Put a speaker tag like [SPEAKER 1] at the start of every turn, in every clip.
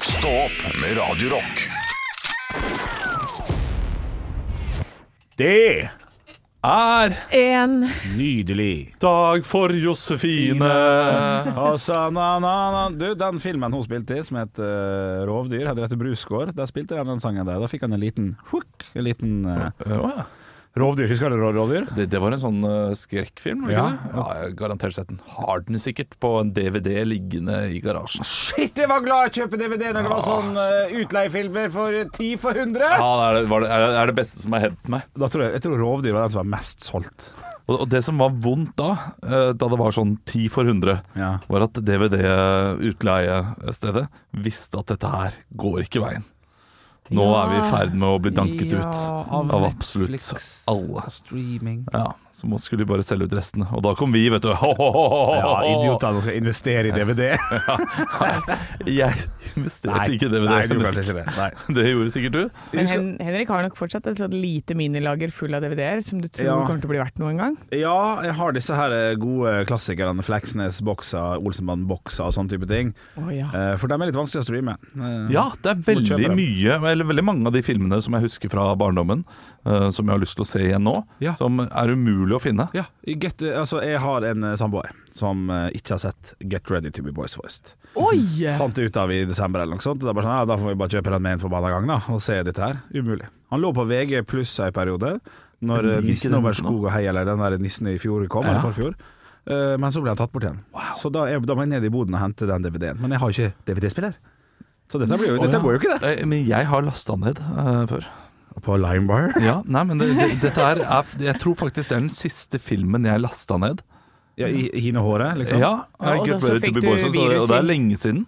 [SPEAKER 1] Stå opp med Radio Rock.
[SPEAKER 2] Det
[SPEAKER 3] er
[SPEAKER 4] En
[SPEAKER 2] nydelig.
[SPEAKER 3] dag for Josefine.
[SPEAKER 2] Og så, Altså, na, na, na. Du, den filmen hun spilte i, som het eh, Rovdyr, Henriette Brusgaard, der spilte han den sangen der. Da fikk han en liten hook, en liten eh,
[SPEAKER 3] Ja,
[SPEAKER 2] rovdyr. Husker du Rå- rovdyr?
[SPEAKER 3] det, det var en sånn eh, skrekkfilm? var det
[SPEAKER 2] Ja.
[SPEAKER 3] ikke det? ja, jeg har garantert sett den. Har den sikkert på en DVD liggende i garasjen.
[SPEAKER 2] Shit, jeg var glad i å kjøpe DVD når det var sånn utleiefilmer for ti for hundre!
[SPEAKER 3] Ja, det er det, var det, er det, er det beste som har hendt meg.
[SPEAKER 2] Da tror jeg, jeg tror Rovdyr var den som var mest solgt.
[SPEAKER 3] Og, og det som var vondt da, eh, da det var sånn 10 for 100,
[SPEAKER 2] Ja.
[SPEAKER 3] var at DVD-utleiestedet visste at dette her går ikke veien. Nå
[SPEAKER 5] Ja.
[SPEAKER 3] er vi i ferd med å bli danket
[SPEAKER 5] Ja,
[SPEAKER 3] ut
[SPEAKER 5] av
[SPEAKER 3] av absolutt
[SPEAKER 5] Netflix.
[SPEAKER 3] alle.
[SPEAKER 5] Streaming.
[SPEAKER 3] Ja, Så må skulle de bare selge ut restene. Og da kom vi, vet du.
[SPEAKER 2] Ja, idioter som skal investere i DVD.
[SPEAKER 3] Jeg investerte ikke i DVD.
[SPEAKER 2] Nei, du
[SPEAKER 3] Henrik.
[SPEAKER 2] klarte ikke det. Nei.
[SPEAKER 3] Det gjorde sikkert du.
[SPEAKER 4] Men Hen Henrik har nok fortsatt et sånt lite minilager full av DVD-er som du tror
[SPEAKER 2] Ja.
[SPEAKER 4] kommer til å bli verdt noen gang.
[SPEAKER 2] Ja, jeg har disse her eh, gode klassikerne. Fleksnes-bokser, Olsenband-bokser og sånne type ting.
[SPEAKER 4] Å ja.
[SPEAKER 2] Eh, For de er litt vanskelig å streame. Eh,
[SPEAKER 3] Ja, det er veldig
[SPEAKER 2] kjøpe dem.
[SPEAKER 3] mye, eller veldig mange av de filmene som jeg husker fra barndommen, eh, som jeg har lyst til å se igjen nå,
[SPEAKER 2] Ja.
[SPEAKER 3] som er umulig å finne.
[SPEAKER 2] Ja, i get, altså jeg har en eh, samboer som eh, ikke har sett Get Ready To Be Boys Voiced.
[SPEAKER 4] Oi!
[SPEAKER 2] Fant det ut av i desember eller noe sånt. Og da, bare sånn, ja, da får vi bare kjøpe den med en forbanna gang da, og se dette her. Umulig. Han lå på VG pluss ei periode, når eh,
[SPEAKER 3] Ligger
[SPEAKER 2] Nissen
[SPEAKER 3] den
[SPEAKER 2] over
[SPEAKER 3] ute nå?
[SPEAKER 2] skog og hei, eller den der nissen i fjor kom, eller forfjor. Eh, Men så ble han tatt bort igjen. Så da, er- da må jeg ned i boden og hente den DVD-en. Men jeg har jo ikke DVD-spiller. Så dette, blir jo,
[SPEAKER 3] Å, ja.
[SPEAKER 2] dette går jo ikke, det.
[SPEAKER 3] Eh, Men jeg har lasta ned eh, før.
[SPEAKER 2] På Limebar?
[SPEAKER 3] Ja, nei, men det, det, dette er, er Jeg tror faktisk det er den siste filmen jeg lasta ned.
[SPEAKER 2] Ja, i, i hinehåret, liksom?
[SPEAKER 3] Ja,
[SPEAKER 4] Ja, og
[SPEAKER 3] Get
[SPEAKER 4] da så
[SPEAKER 3] Ready to
[SPEAKER 4] fikk
[SPEAKER 3] Be
[SPEAKER 4] du
[SPEAKER 3] Boys, og så-
[SPEAKER 4] virus
[SPEAKER 3] og det er
[SPEAKER 4] i-
[SPEAKER 3] lenge siden.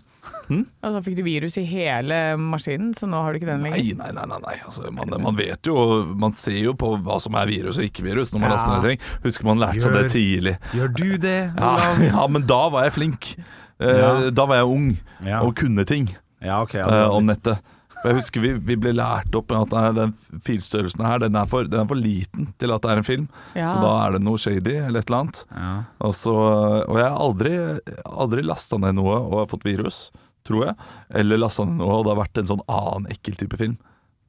[SPEAKER 4] Og så fikk du virus i hele maskinen, så nå har du ikke den lenger.
[SPEAKER 3] Nei, nei, nei. nei, nei. Altså, man, man vet jo Man ser jo på hva som er virus og ikke virus når man
[SPEAKER 4] Ja.
[SPEAKER 3] laster ned ting. Husker man lærte seg det tidlig.
[SPEAKER 2] Gjør du det?
[SPEAKER 3] Ja, ja, men da var jeg flink. Eh,
[SPEAKER 2] Ja.
[SPEAKER 3] Da var jeg ung
[SPEAKER 2] Ja.
[SPEAKER 3] og kunne ting
[SPEAKER 2] Ja, ok. Ja,
[SPEAKER 3] eh,
[SPEAKER 2] det-
[SPEAKER 3] om nettet. For jeg husker vi, vi ble lært opp med at nei, den filstørrelsen her den er, for, den er for liten til at det er en film.
[SPEAKER 4] Ja.
[SPEAKER 3] Så da er det noe shady eller et eller annet.
[SPEAKER 2] ja.
[SPEAKER 3] Og, så, og jeg har aldri, aldri lasta ned noe og har fått virus, tror jeg. Eller lasta ned noe og det har vært en sånn annen ekkel type film.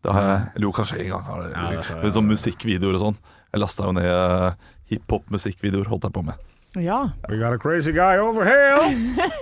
[SPEAKER 3] Det har jeg, eller jo, kanskje en gang. Har jeg,
[SPEAKER 2] Ja, det tror jeg,
[SPEAKER 3] men sånn musikkvideoer og sånn. Jeg lasta jo ned eh, hiphop-musikkvideoer, holdt jeg på med.
[SPEAKER 4] Ja.
[SPEAKER 2] We got a crazy guy over here!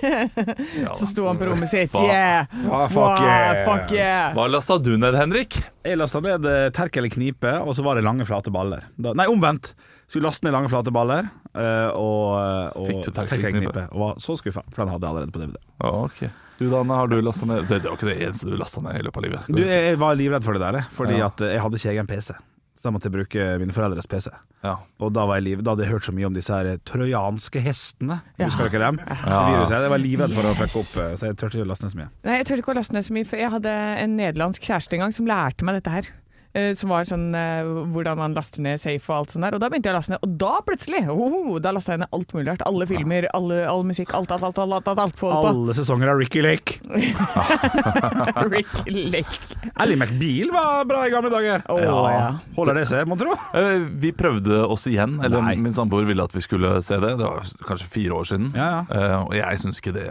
[SPEAKER 3] Ja,
[SPEAKER 4] Så
[SPEAKER 3] da.
[SPEAKER 4] sto han på rommet sitt.
[SPEAKER 3] Hva-
[SPEAKER 4] Yeah!
[SPEAKER 2] Ah, fuck
[SPEAKER 4] Wow,
[SPEAKER 2] yeah.
[SPEAKER 4] fuck yeah.
[SPEAKER 3] Hva lasta du ned, Henrik?
[SPEAKER 2] Jeg lasta ned eh, terk eller knipe, og så var det lange, flate baller. Da, nei, omvendt. Skulle laste ned lange, flate baller, eh, og, og
[SPEAKER 3] Fikk du terk eller knipe?
[SPEAKER 2] Og var så skuffa, for den hadde jeg allerede på DVD.
[SPEAKER 3] Ja, ok Du, Dan, har du lasta ned Det, det var ikke det eneste du lasta ned i løpet av livet.
[SPEAKER 2] Du, jeg jeg var livredd for det der, eh, fordi
[SPEAKER 3] Ja.
[SPEAKER 2] at eh, jeg hadde ikke egen PC. Så da måtte jeg bruke mine foreldres PC.
[SPEAKER 3] ja.
[SPEAKER 2] Og da var jeg liv, da hadde jeg hørt så mye om disse her eh, trojanske hestene. Husker dere dem?
[SPEAKER 3] Ja.
[SPEAKER 2] Viruset. Jeg var livredd for å fucke opp, eh, så jeg turte ikke å laste ned så mye.
[SPEAKER 4] Nei, jeg turte ikke å laste ned så mye, for jeg hadde en nederlandsk kjæreste en gang som lærte meg dette her. Eh, Som var sånn eh, hvordan man laster ned safe og alt sånt der. Og da begynte jeg å laste ned, og da plutselig oh, Da lasta jeg ned alt mulig rart. Alle filmer, alle, all musikk, alt, alt, alt. alt, alt, alt, alt Få det
[SPEAKER 2] Alle sesonger av Ricky Lake.
[SPEAKER 4] på. Rick Lake.
[SPEAKER 2] Ally McBeal var bra i gamle dager.
[SPEAKER 4] Å, ja.
[SPEAKER 2] Holder det seg, mon tro?
[SPEAKER 3] Eh, Vi prøvde oss igjen, eller
[SPEAKER 2] Nei.
[SPEAKER 3] min samboer ville at vi skulle se det. Det var kanskje fire år siden.
[SPEAKER 2] Ja,
[SPEAKER 3] Eh, og jeg syns ikke det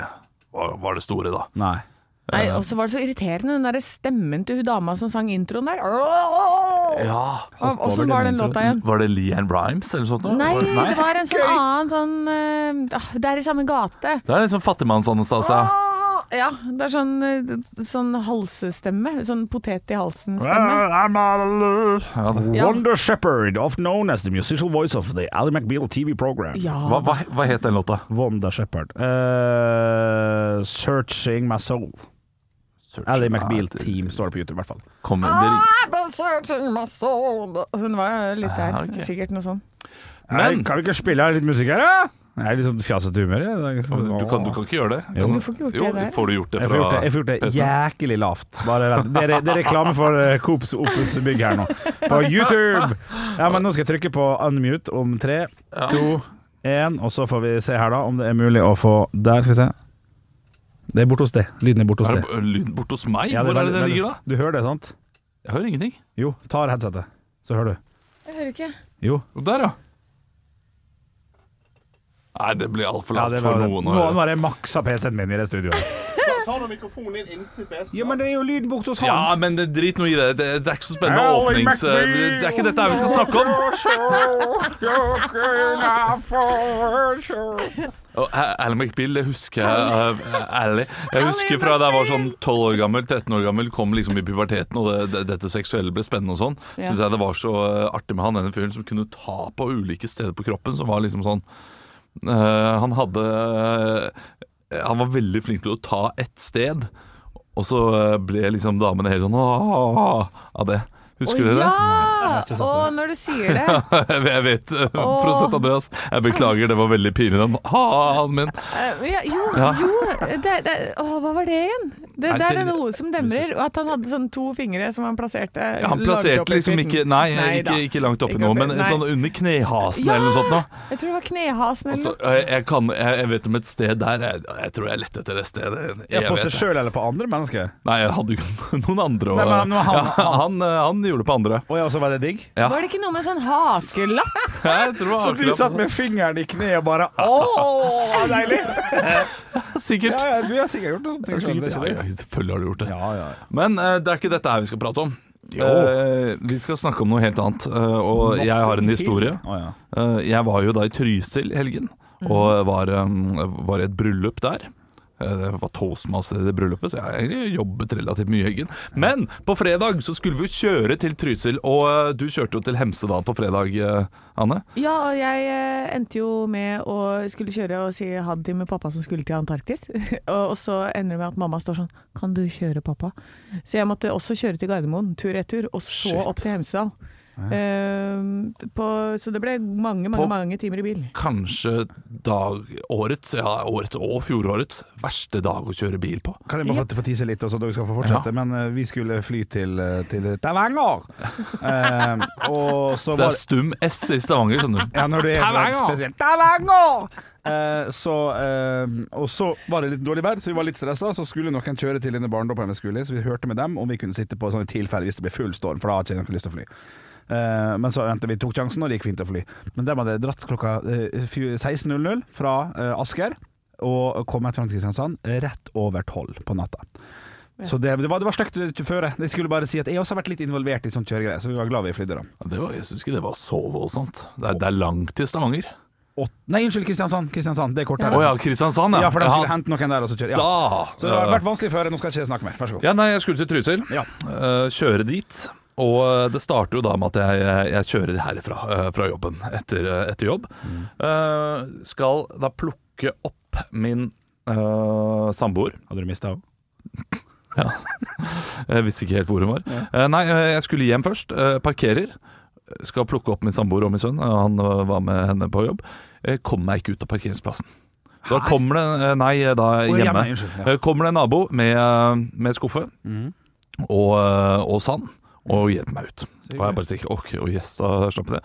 [SPEAKER 3] var, var det store, da.
[SPEAKER 2] Nei.
[SPEAKER 4] Nei, og så var det så irriterende, den derre stemmen til hun dama som sang introen der.
[SPEAKER 3] Ja
[SPEAKER 4] Og Åssen var den låta igjen?
[SPEAKER 3] Var det Leanne Rhymes eller noe sånt? da?
[SPEAKER 4] Nei,
[SPEAKER 3] Var det-
[SPEAKER 4] det var en sånn annen sånn eh, ah, Det er i samme gate.
[SPEAKER 3] Det er liksom fattigmanns-Anastasia.
[SPEAKER 4] Ja, det er sånn, eh, sånn halsestemme. Sånn potet i halsen-stemme.
[SPEAKER 3] Ja, det-
[SPEAKER 4] Ja.
[SPEAKER 2] Wonder Shepherd, often known as the musical voice of the Ally McBeal TV program.
[SPEAKER 4] Ja.
[SPEAKER 3] hva, hva, hva het den låta?
[SPEAKER 2] Wonder Shepherd. Eh, searching My Soul. Ally McBeal Team står det på YouTube, i hvert fall.
[SPEAKER 3] Kommer, det,
[SPEAKER 4] Ah, Hun var jo litt der.
[SPEAKER 3] Ah, ok.
[SPEAKER 4] Sikkert noe sånn.
[SPEAKER 3] Men-
[SPEAKER 2] Nei, kan vi ikke spille litt musikk her, da? Jeg er litt sånn fjasete humør. Jeg,
[SPEAKER 3] du, kan, du kan ikke gjøre det?
[SPEAKER 2] Jo.
[SPEAKER 3] Kan-
[SPEAKER 4] Du får ikke gjort det
[SPEAKER 3] jo,
[SPEAKER 4] der.
[SPEAKER 3] Får du gjort det
[SPEAKER 2] Jeg får
[SPEAKER 3] fra
[SPEAKER 2] gjort det, jeg får gjort det
[SPEAKER 3] PC-en?
[SPEAKER 2] jæklig lavt. Bare vent. Det er, det er reklame for eh, Coops Opus bygg her nå. På YouTube! Ja, men nå skal jeg trykke på unmute om tre, to, én, og så får vi se her, da, om det er mulig å få Der, skal vi se. Det er borte hos det. Lyden er borte hos
[SPEAKER 3] Er
[SPEAKER 2] det.
[SPEAKER 3] det b- lyden borte hos meg?
[SPEAKER 2] Ja,
[SPEAKER 3] Hvor er det
[SPEAKER 2] veldig-
[SPEAKER 3] den ligger da?
[SPEAKER 2] veldig- Du hører det, sant?
[SPEAKER 3] Jeg hører ingenting.
[SPEAKER 2] Jo, tar headsetet, så hører du.
[SPEAKER 4] Jeg hører ikke.
[SPEAKER 2] Jo.
[SPEAKER 3] Og Der, ja. Nei, det blir altfor
[SPEAKER 2] Ja,
[SPEAKER 3] lavt
[SPEAKER 2] det
[SPEAKER 3] for
[SPEAKER 2] var,
[SPEAKER 3] noen å
[SPEAKER 2] nå
[SPEAKER 3] høre.
[SPEAKER 2] har jeg maksa PC-en min i det studioet.
[SPEAKER 5] ta nå mikrofonen din inntil PC-en.
[SPEAKER 2] Ja, men det er jo lyden borte hos han.
[SPEAKER 3] Ja, men det- drit nå i det. Det, det er ikke så spennende
[SPEAKER 2] Ally
[SPEAKER 3] åpnings...
[SPEAKER 2] McBeal.
[SPEAKER 3] Det er ikke dette her vi skal snakke om. Og A- Alan McBeal, det husker jeg eh, ærlig. Jeg husker fra da jeg var sånn 12 år gammel, 13 år gammel, kom liksom i puberteten, og det, det, dette seksuelle ble spennende og sånn.
[SPEAKER 4] Ja.
[SPEAKER 3] Synes jeg det var så eh, artig med han denne fyren som kunne ta på ulike steder på kroppen, som var liksom sånn eh, Han hadde eh, Han var veldig flink til å ta ett sted, og så eh, ble liksom damene helt sånn «Åh», av det. Husker dere det?
[SPEAKER 4] ja! Å, når du sier det.
[SPEAKER 3] Jeg vet, eh,
[SPEAKER 4] Åh.
[SPEAKER 3] prosent Andreas. Jeg beklager, det var veldig pinlig, den ha-ha-en min.
[SPEAKER 4] Eh, ja, jo,
[SPEAKER 3] Ja.
[SPEAKER 4] jo det, det, å, Hva var det igjen? Det,
[SPEAKER 3] Nei,
[SPEAKER 4] det er
[SPEAKER 3] det-
[SPEAKER 4] det noe som demrer. Og at han hadde sånn to fingre som han plasserte
[SPEAKER 3] Ja, Han
[SPEAKER 4] lagde opp
[SPEAKER 3] plasserte
[SPEAKER 4] i
[SPEAKER 3] liksom
[SPEAKER 4] putten.
[SPEAKER 3] ikke Nei,
[SPEAKER 4] da.
[SPEAKER 3] ikke, ikke langt oppi
[SPEAKER 4] Ikke
[SPEAKER 3] noe,
[SPEAKER 4] oppi-
[SPEAKER 3] men
[SPEAKER 4] nei.
[SPEAKER 3] sånn under knehasen
[SPEAKER 4] Ja!
[SPEAKER 3] eller noe sånt. Da.
[SPEAKER 4] Jeg tror det var knehasen eller
[SPEAKER 3] Altså,
[SPEAKER 4] noe.
[SPEAKER 3] jeg, jeg, kan, jeg, jeg vet om et sted der Jeg, jeg tror jeg lette etter det stedet. Jeg
[SPEAKER 2] Ja, på
[SPEAKER 3] vet
[SPEAKER 2] seg
[SPEAKER 3] det.
[SPEAKER 2] sjøl eller på andre mennesker?
[SPEAKER 3] Nei, jeg hadde jo noen andre. Og,
[SPEAKER 2] Nei, men han-
[SPEAKER 3] ja, han, eh, han gjorde det på andre.
[SPEAKER 2] Å ja, og så var det digg?
[SPEAKER 3] Ja.
[SPEAKER 4] Var det ikke noe med sånn hakelapp?
[SPEAKER 3] Jeg tror det altså. var
[SPEAKER 2] Så du
[SPEAKER 3] akkurat
[SPEAKER 2] satt med fingeren i kneet og bare Åh, deilig!
[SPEAKER 3] sånn. Sikkert.
[SPEAKER 2] Ja, ja, du har sikkert gjort noe sånt.
[SPEAKER 3] Sikkert.
[SPEAKER 2] Det er
[SPEAKER 3] Ja,
[SPEAKER 2] ikke det?
[SPEAKER 3] ja, selvfølgelig har du gjort det.
[SPEAKER 2] Ja, ja.
[SPEAKER 3] Men eh, det er ikke dette her vi skal prate om.
[SPEAKER 2] Jo.
[SPEAKER 3] Eh, vi skal snakke om noe helt annet, eh, og jeg har en historie.
[SPEAKER 2] Å, ja.
[SPEAKER 3] Eh, Jeg var jo da i Trysil i helgen, og var, um, var i et bryllup der. Eh, Det var toastmaster i det bryllupet, så jeg har egentlig jobbet relativt mye i helgen. Men på fredag så skulle vi jo kjøre til Trysil, og eh, du kjørte jo til Hemsedal på fredag, eh, Anne.
[SPEAKER 4] Ja, og jeg eh, endte jo med å skulle kjøre og si ha det til med pappa som skulle til Antarktis. og, og så ender det med at mamma står sånn Kan du kjøre, pappa? Så jeg måtte også kjøre til Gardermoen, tur-retur, og så
[SPEAKER 3] Shit.
[SPEAKER 4] opp til Hemsedal. Ehm, på, så det ble mange, mange,
[SPEAKER 3] På-
[SPEAKER 4] mange timer i bil.
[SPEAKER 3] Kanskje dag, årets, ja, årets og fjorårets verste dag å kjøre bil på.
[SPEAKER 2] Kan jeg bare få, få tise litt, og så dere skal få fortsette?
[SPEAKER 3] Ja.
[SPEAKER 2] Men eh, vi skulle fly til, eh, til Stavanger. Eh, og så
[SPEAKER 3] Så det
[SPEAKER 2] var
[SPEAKER 3] er stum S i Stavanger, skjønner du.
[SPEAKER 2] ja, når du er fra et
[SPEAKER 3] Stavanger!
[SPEAKER 2] spesielt Stavanger! Eh, så, eh, og så var det litt dårlig vær, så vi var litt stressa. Så skulle noen kjøre til denne barndommen vi skulle i, så vi hørte med dem om vi kunne sitte på sånn i tilfelle hvis det ble full storm, for da har ikke noen lyst til å fly. Eh, men så endte vi tok sjansen, og det gikk fint å fly. Men dem hadde dratt klokka eh, fy- 16.00 fra eh, Asker og kommet fram til Kristiansand rett over tolv på natta. Så det, det var, det var stygt eh, føre. Jeg skulle bare si at jeg også har vært litt involvert i sånn kjøregreie, så vi var glad vi flydde da.
[SPEAKER 3] Ja, Det var, jeg syns ikke det var så voldsomt. Det er, det er langt til Stavanger.
[SPEAKER 2] Åt, nei, unnskyld, Kristiansand. Kristiansand, Det er kort
[SPEAKER 3] Å
[SPEAKER 2] her.
[SPEAKER 3] ja, Kristiansand,
[SPEAKER 2] Ja, for de skulle
[SPEAKER 3] Ja,
[SPEAKER 2] hente noen der og så kjøre. Ja.
[SPEAKER 3] Da!
[SPEAKER 2] Så det har
[SPEAKER 3] Ja.
[SPEAKER 2] vært vanskelig før. Nå skal jeg ikke snakke mer. Vær så god.
[SPEAKER 3] Ja, nei, jeg skulle til Trysil.
[SPEAKER 2] Ja.
[SPEAKER 3] Eh, kjøre dit. Og eh, det starter jo da med at jeg, jeg kjører herfra, eh, fra jobben, etter, eh, etter jobb.
[SPEAKER 2] Mm.
[SPEAKER 3] Eh, skal da plukke opp min eh, samboer.
[SPEAKER 2] Hadde du mista henne?
[SPEAKER 3] Jeg visste ikke helt hvor hun var. Eh, nei, eh, jeg skulle hjem først. eh, parkerer. Skal plukke opp min samboer og min sønn. eh, han eh, var med henne på jobb. Uh, kommer meg ikke ut av parkeringsplassen. Da kommer det eh, Nei, eh, da
[SPEAKER 2] Å,
[SPEAKER 3] hjemme.
[SPEAKER 2] hjemme, unnskyld, ja. Mm.
[SPEAKER 3] Eh, Kommer det en nabo med, eh, med skuffe og, eh, og sand og hjelper meg ut. Og jeg bare tenker ok, og yes, da slapp jeg det.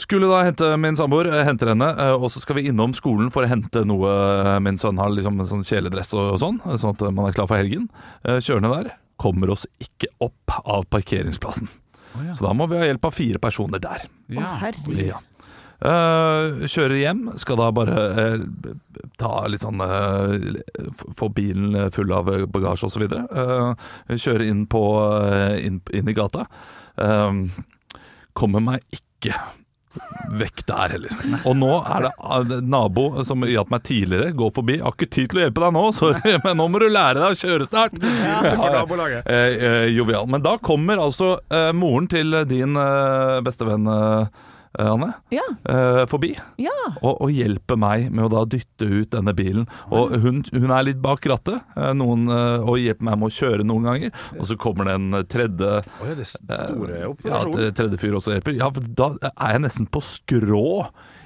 [SPEAKER 3] Skulle da hente min samboer, eh, henter henne, eh, og så skal vi innom skolen for å hente noe. Min sønn har liksom en sånn kjeledress og, og sånn, eh, sånn at man er klar for helgen. Eh, Kjørende der kommer oss ikke opp av parkeringsplassen. Så da må vi ha hjelp av fire personer der.
[SPEAKER 4] Å, herregud.
[SPEAKER 3] Ja. Eh, kjører hjem, skal da bare eh, ta litt sånn eh, f- Få bilen full av bagasje osv. Uh, kjører inn, på, eh, inn, inn i gata. Eh, kommer meg ikke vekk der heller. Og nå er det eh, nabo som hjalp meg tidligere, går forbi. Har ikke tid til å hjelpe deg nå, sorry, men nå må du lære deg å kjøre snart.
[SPEAKER 2] For nabolaget.
[SPEAKER 3] Eh, eh, jovial. Men da kommer altså eh, moren til din eh, bestevenn, eh, Anne,
[SPEAKER 4] Ja,
[SPEAKER 3] eh, forbi
[SPEAKER 4] ja.
[SPEAKER 3] og, og hjelper meg med å da dytte ut denne bilen. Og hun, hun er litt bak rattet eh, noen, eh, og hjelper meg med å kjøre noen ganger. Og så kommer det en tredje
[SPEAKER 2] Å ja, det er store
[SPEAKER 3] ja,
[SPEAKER 2] operasjoner.
[SPEAKER 3] t- tredje fyr også hjelper. Ja, for da er jeg nesten på skrå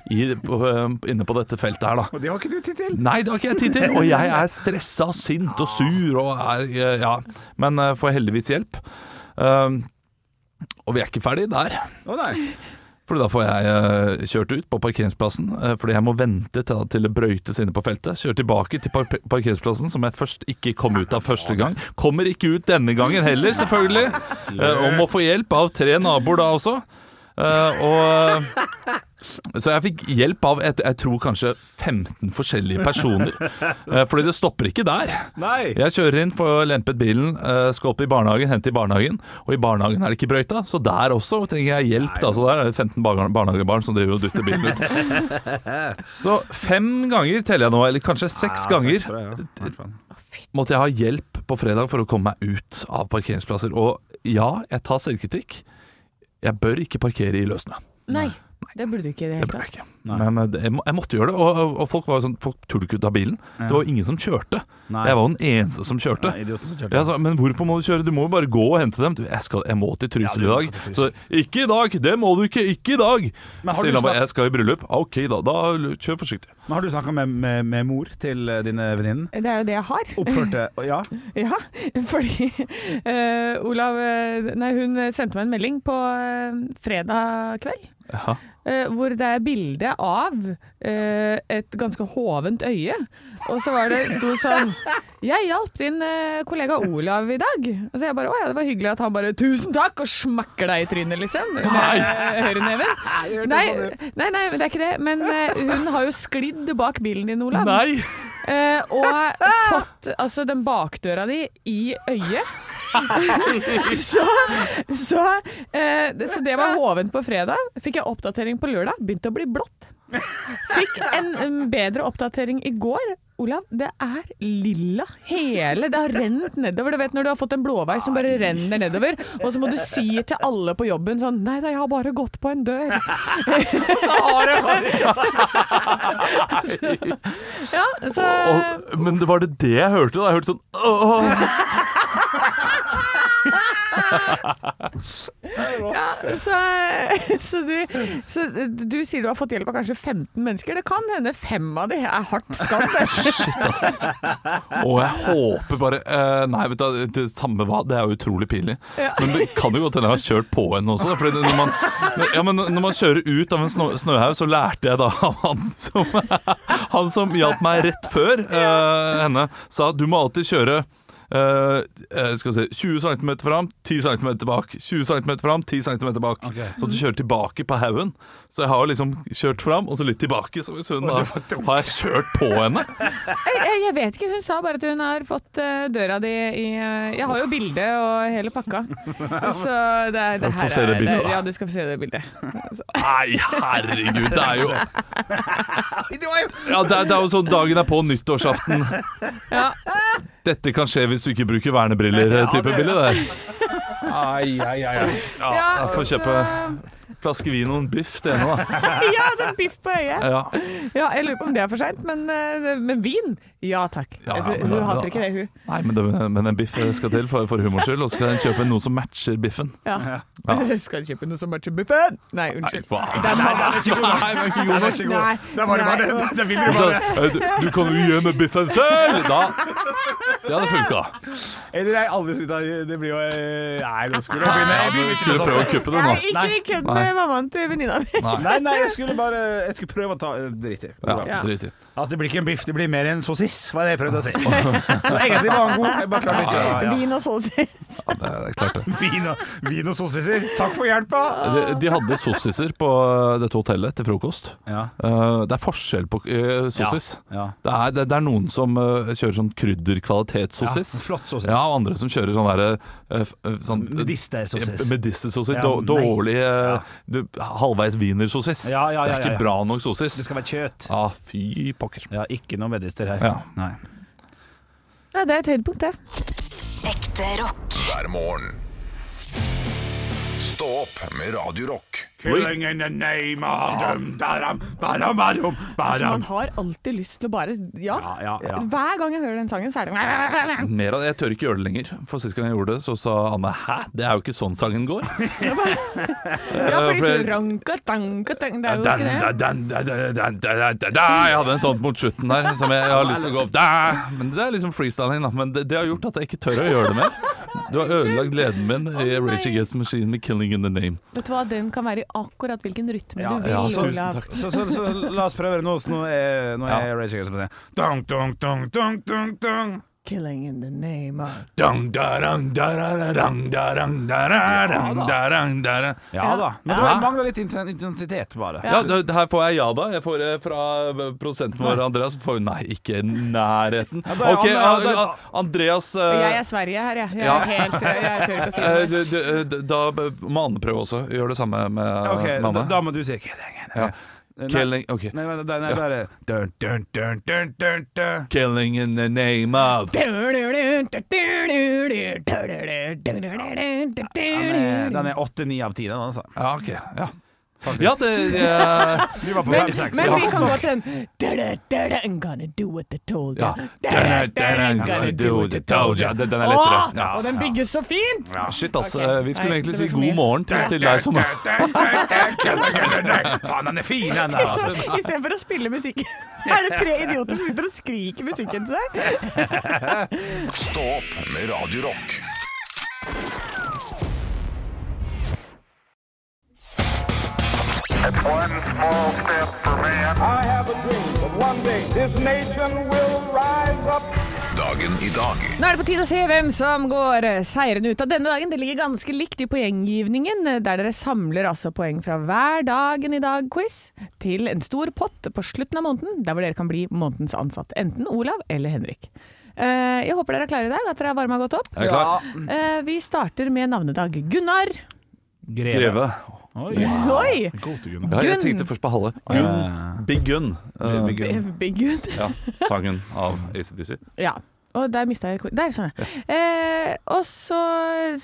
[SPEAKER 3] i, på, eh, inne på dette feltet her, da.
[SPEAKER 2] Og det har ikke du tid til.
[SPEAKER 3] Nei, det har ikke jeg tid til. Og jeg er stressa, sint og sur og er eh, Ja. Men eh, får heldigvis hjelp. Um, og vi er ikke ferdig der,
[SPEAKER 2] Å nei.
[SPEAKER 3] for da får jeg eh, kjørt ut på parkeringsplassen. eh, fordi jeg må vente til, til det brøytes inne på feltet. Kjøre tilbake til par parkeringsplassen, som jeg først ikke kom ut av første gang. Kommer ikke ut denne gangen heller, selvfølgelig. eh, og må få hjelp av tre naboer da også. Eh, og Så jeg fikk hjelp av et, jeg tror kanskje 15 forskjellige personer. Eh, Fordi det stopper ikke der.
[SPEAKER 2] Nei!
[SPEAKER 3] Jeg kjører inn, får lempet bilen, eh, skal opp i barnehagen, hente i barnehagen. Og i barnehagen er det ikke brøyta, så der også trenger jeg hjelp. Da. Så der er det 15 barne- barnehagebarn som driver og dutter bilen ut. Så fem ganger teller jeg nå, eller kanskje seks ganger, måtte jeg ha hjelp på fredag for å komme meg ut av parkeringsplasser. Og ja, jeg tar selvkritikk. Jeg bør ikke parkere i løssnø.
[SPEAKER 4] Nei, det burde du ikke i det
[SPEAKER 3] Det
[SPEAKER 4] hele
[SPEAKER 3] bør
[SPEAKER 4] tatt.
[SPEAKER 3] jeg ikke.
[SPEAKER 2] Nei.
[SPEAKER 3] Men eh, det- jeg, må, jeg måtte gjøre det, og, og- og folk var jo sånn Folk turte ikke ut av bilen. Det var jo ingen som kjørte.
[SPEAKER 2] Nei.
[SPEAKER 3] Jeg var jo den eneste som kjørte.
[SPEAKER 2] Nei, idioten som kjørte.
[SPEAKER 3] Ja, så, men hvorfor må du kjøre? Du må jo bare gå og hente dem. Du, jeg, skal, jeg må til Trysil
[SPEAKER 2] Ja, du
[SPEAKER 3] i
[SPEAKER 2] må
[SPEAKER 3] dag.
[SPEAKER 2] til
[SPEAKER 3] Så,
[SPEAKER 2] Trysil.
[SPEAKER 3] ikke i dag! Det må du ikke! Ikke i dag!
[SPEAKER 2] Men har
[SPEAKER 3] Sier
[SPEAKER 2] du
[SPEAKER 3] han bare,
[SPEAKER 2] snak-
[SPEAKER 3] jeg skal i bryllup. Ok, da. da kjør forsiktig.
[SPEAKER 2] Men har du snakka med, med, med mor til eh, dine venninnen?
[SPEAKER 4] Det er jo det jeg har.
[SPEAKER 2] Oppførte Ja.
[SPEAKER 4] Ja, fordi eh, Olav eh, Nei, hun sendte meg en melding på eh, fredag kveld.
[SPEAKER 3] Ja.
[SPEAKER 4] eh, hvor det er bilde av eh, et ganske hovent øye. Og så var det sto sånn 'Jeg hjalp din eh, kollega Olav i dag'. Og så jeg bare 'Å ja, det var hyggelig' at han bare 'Tusen takk!' og smakker deg i trynet, liksom. Med høyreneven. Nei, nei, nei, det er ikke det. Men eh, hun har jo sklidd bak bilen din, Olav.
[SPEAKER 3] Nei!
[SPEAKER 4] Eh, og fått altså, den bakdøra di i øyet. så så, eh, det- så det var hovent på fredag. Fikk jeg oppdatering på lørdag. Begynte å bli blått. Fikk en mm, bedre oppdatering i går. Olav, det er lilla hele. Det har rent nedover. Du vet når du har fått en blåvei som bare renner nedover, og så må du si til alle på jobben sånn Nei da, jeg har bare gått på en dør. Ja, så
[SPEAKER 3] Og, men det var det det jeg hørte? da Jeg hørte sånn Åh!
[SPEAKER 4] Ja, så, så, du, så du sier du har fått hjelp av kanskje 15 mennesker. Det kan hende fem av de er hardt skadd.
[SPEAKER 3] Og jeg håper bare eh, Nei, vet du, det samme hva. Det er jo utrolig pinlig.
[SPEAKER 4] Ja.
[SPEAKER 3] Men det kan jo godt hende jeg har kjørt på henne også. da, Fordi når man, ja, men når man kjører ut av en snø, snøhaug, så lærte jeg da av han som, han som hjalp meg rett før eh, henne, sa du må alltid kjøre eh, eh, skal vi se 20 cm fram, 10 cm bak. 20 cm fram, 10 cm bak. Så at du kjører tilbake på haugen. Så jeg har jo liksom kjørt fram, og så litt tilbake. Så hvis hun da har jeg kjørt på henne.
[SPEAKER 4] Jeg, jeg vet ikke, hun sa bare at hun har fått eh, døra di i eh, Jeg har jo bilde og hele pakka. Så det, er- det
[SPEAKER 3] Jeg får
[SPEAKER 4] her
[SPEAKER 3] se det
[SPEAKER 4] er
[SPEAKER 3] bildet, da.
[SPEAKER 4] Ja, du skal få se det bildet.
[SPEAKER 3] Nei, herregud, det er jo ja, det, er, det er jo sånn dagen er på nyttårsaften.
[SPEAKER 4] Ja.
[SPEAKER 3] Dette kan skje hvis du ikke bruker vernebriller-type bilde. det.
[SPEAKER 2] Ai, ai, ai, ai.
[SPEAKER 3] Ja, jeg får
[SPEAKER 4] så-
[SPEAKER 3] kjøpe flaske vin og en biff til henne, da.
[SPEAKER 4] Ja, så biff på øyet.
[SPEAKER 3] Ja.
[SPEAKER 4] Ja, jeg lurer på om det er for seint, men, eh, men vin? Ja takk.
[SPEAKER 3] Ja,
[SPEAKER 4] Altså,
[SPEAKER 3] men
[SPEAKER 4] hun
[SPEAKER 3] da-
[SPEAKER 4] hater ikke det, hun.
[SPEAKER 3] Nei, men, det, men en biff skal til for, for humors skyld, og så skal en kjøpe noe som matcher biffen.
[SPEAKER 4] Ja.
[SPEAKER 3] Ja.
[SPEAKER 4] Skal du kjøpe noe som matcher buffen? Nei,
[SPEAKER 3] Nei,
[SPEAKER 4] unnskyld.
[SPEAKER 3] hva?
[SPEAKER 4] Det er mamma.
[SPEAKER 3] Nei, men ikke god nok.
[SPEAKER 4] Nei,
[SPEAKER 2] Det var det
[SPEAKER 4] nei.
[SPEAKER 2] bare det. Det ville
[SPEAKER 3] Så,
[SPEAKER 2] jo bare
[SPEAKER 3] eh, du, du kan jo gjøre med biffen selv! Da Det hadde funka.
[SPEAKER 2] Eller jeg aldri skulle ta Det blir jo eh, Nei, nå skulle jeg begynne. Jeg begynner ikke
[SPEAKER 3] Skulle
[SPEAKER 2] med
[SPEAKER 3] prøve å
[SPEAKER 2] sånt.
[SPEAKER 3] kuppe det
[SPEAKER 4] Nei,
[SPEAKER 3] nå.
[SPEAKER 4] ikke kødd
[SPEAKER 3] Nei.
[SPEAKER 4] med mammaen til venninna mi.
[SPEAKER 2] Nei, nei, jeg skulle bare Jeg skulle prøve å ta eh, Drit i.
[SPEAKER 3] Ja, drit i.
[SPEAKER 2] At det blir ikke en biff, det blir mer en sosis, var det jeg prøvde å si. Så egentlig var han god. Jeg bare klarte ikke å ja.
[SPEAKER 4] Vin og sausis.
[SPEAKER 3] Ja, det er klart det.
[SPEAKER 2] Vin og, vin og sosiser. Takk for hjelpa!
[SPEAKER 3] De, de hadde sossiser på dette hotellet til frokost.
[SPEAKER 2] Ja.
[SPEAKER 3] Eh, det er forskjell på uh, sossis.
[SPEAKER 2] Ja.
[SPEAKER 3] Det, er, det, det er noen som eh, kjører sånn krydderkvalitetssossis.
[SPEAKER 2] Ja, flott sossis.
[SPEAKER 3] Ja, og andre som kjører sånn derre eh, f- eh, sånn,
[SPEAKER 2] Medistersossis.
[SPEAKER 3] Medistersossis.
[SPEAKER 2] Ja,
[SPEAKER 3] Dår-
[SPEAKER 2] nei.
[SPEAKER 3] dårlig eh, du, halvveis wienersossis.
[SPEAKER 2] Ja, ja,
[SPEAKER 3] det
[SPEAKER 2] ja,
[SPEAKER 3] er
[SPEAKER 2] ja, ja.
[SPEAKER 3] ikke bra nok sossis.
[SPEAKER 2] Det skal være kjøtt.
[SPEAKER 3] Ja, fy pokker.
[SPEAKER 2] Ja, ikke noe medister her.
[SPEAKER 3] Ja.
[SPEAKER 2] Nei.
[SPEAKER 4] Ja, det er et høydepunkt, det.
[SPEAKER 6] Ekte rock.
[SPEAKER 1] hver morgen. Stå opp med Radio Rock.
[SPEAKER 3] Killing
[SPEAKER 2] in the name of dum, daram, baram, baram,
[SPEAKER 4] Så man har alltid lyst til å bare Ja.
[SPEAKER 2] Ja, ja, ja.
[SPEAKER 4] Hver gang jeg hører den sangen, så er det
[SPEAKER 3] Mer av det. Jeg tør ikke gjøre det lenger. For sist gang jeg gjorde det, så sa Anne 'hæ, det er jo ikke sånn sangen går'.
[SPEAKER 4] Ja, for de
[SPEAKER 3] for-
[SPEAKER 4] sier ranka, tanka, tang, Det er jo
[SPEAKER 3] Dan,
[SPEAKER 4] ikke det.
[SPEAKER 3] dan, dan, dan, dan, dan, dan, dan, dan. Jeg hadde en sånn mot slutten der som jeg, jeg har lyst til å gå opp. Dan. Men Det er liksom freestyling, da. Men det, det har gjort at jeg ikke tør å gjøre det mer. Du har ødelagt gleden min i Rage Against the Machine med 'Killing in the Name'.
[SPEAKER 4] Vet du hva, den kan være i akkurat hvilken rytme
[SPEAKER 2] Ja,
[SPEAKER 4] du vil,
[SPEAKER 3] Ja, tusen
[SPEAKER 4] Olav.
[SPEAKER 3] takk.
[SPEAKER 2] Så, så, så la oss prøve det nå, så nå er, nå er
[SPEAKER 3] Ja.
[SPEAKER 2] Rage Against the Machine. Dunk, dunk, dunk, dunk, dunk, dunk.
[SPEAKER 4] Killing in the name of
[SPEAKER 3] Dang, darang, darang, darang, darang, darang, darang, darang.
[SPEAKER 2] Ja da. Men det
[SPEAKER 3] Ja.
[SPEAKER 2] mangler litt inten- intensitet, bare.
[SPEAKER 3] Ja, det- her får jeg ja da. Jeg får eh, Fra eh, prosenten vår Andreas får hun nei, ikke i nærheten.
[SPEAKER 2] da er
[SPEAKER 3] Ok,
[SPEAKER 2] Anne- ja, da-
[SPEAKER 3] A- A- Andreas eh,
[SPEAKER 4] Jeg er Sverige her, jeg. Jeg,
[SPEAKER 3] Ja.
[SPEAKER 4] er helt, jeg tør ikke å si
[SPEAKER 3] eh,
[SPEAKER 4] det.
[SPEAKER 3] du- du- eh, d- Da b- må Anne prøve også. Gjør det samme med eh,
[SPEAKER 2] Ok,
[SPEAKER 3] med
[SPEAKER 2] da,
[SPEAKER 3] Anne.
[SPEAKER 2] da må du si Killing.
[SPEAKER 3] Ja.
[SPEAKER 2] Nei,
[SPEAKER 3] Killing, ok.
[SPEAKER 2] Nei, nei, nei, nei bare dun, dun, dun, dun, dun, dun.
[SPEAKER 3] Killing in the name of
[SPEAKER 2] Den er- eh, Den er åtte-ni av ti, den, altså.
[SPEAKER 3] Ja, ok. Ja, ja det eh,
[SPEAKER 2] Vi var på
[SPEAKER 4] Men,
[SPEAKER 2] fem-seks.
[SPEAKER 4] men
[SPEAKER 2] Ja.
[SPEAKER 4] vi kan gå til en I'm gonna do what they told
[SPEAKER 3] Ja. I'm
[SPEAKER 4] you.
[SPEAKER 3] gonna do what they told you. Den- den er lettere.
[SPEAKER 4] Åh,
[SPEAKER 3] Ja.
[SPEAKER 4] og den bygges så fint!
[SPEAKER 3] Ja, shit, altså.
[SPEAKER 4] Ok.
[SPEAKER 3] Vi skulle
[SPEAKER 4] Nei,
[SPEAKER 3] egentlig
[SPEAKER 4] det
[SPEAKER 3] si
[SPEAKER 4] blir for
[SPEAKER 3] god
[SPEAKER 4] mye.
[SPEAKER 3] morgen til, til deg som
[SPEAKER 2] Faen, den er fin, den der,
[SPEAKER 4] Så
[SPEAKER 2] altså.
[SPEAKER 4] Istedenfor å spille musikken, så er det tre idioter som sitter og skriker musikken til seg.
[SPEAKER 1] Stå opp med Radio Rock.
[SPEAKER 7] I have a dream that one day this nation will rise up.
[SPEAKER 1] Dagen i dag
[SPEAKER 4] Nå er det på tide å se hvem som går eh, seirende ut av denne dagen. Det ligger ganske likt i poenggivningen, eh, der dere samler altså poeng fra hver dagen i dag-quiz til en stor pott på slutten av måneden, der hvor dere kan bli månedens ansatt. Enten Olav eller Henrik. Eh, Jeg håper dere er klare i dag, at dere har varma godt opp.
[SPEAKER 3] er klar.
[SPEAKER 4] Eh, Vi starter med navnedag. Gunnar.
[SPEAKER 3] Greve.
[SPEAKER 2] Oi.
[SPEAKER 4] Oi!
[SPEAKER 2] God til Gunnar.
[SPEAKER 3] Ja, jeg
[SPEAKER 4] Gunn.
[SPEAKER 3] tenkte først på Halle. Gunn. Big Gun. Eh,
[SPEAKER 2] Big Gunn.
[SPEAKER 4] Big Good.
[SPEAKER 3] ja, sangen av ACDC.
[SPEAKER 4] Ja. Og der mista jeg Der, sånn. Eh, og så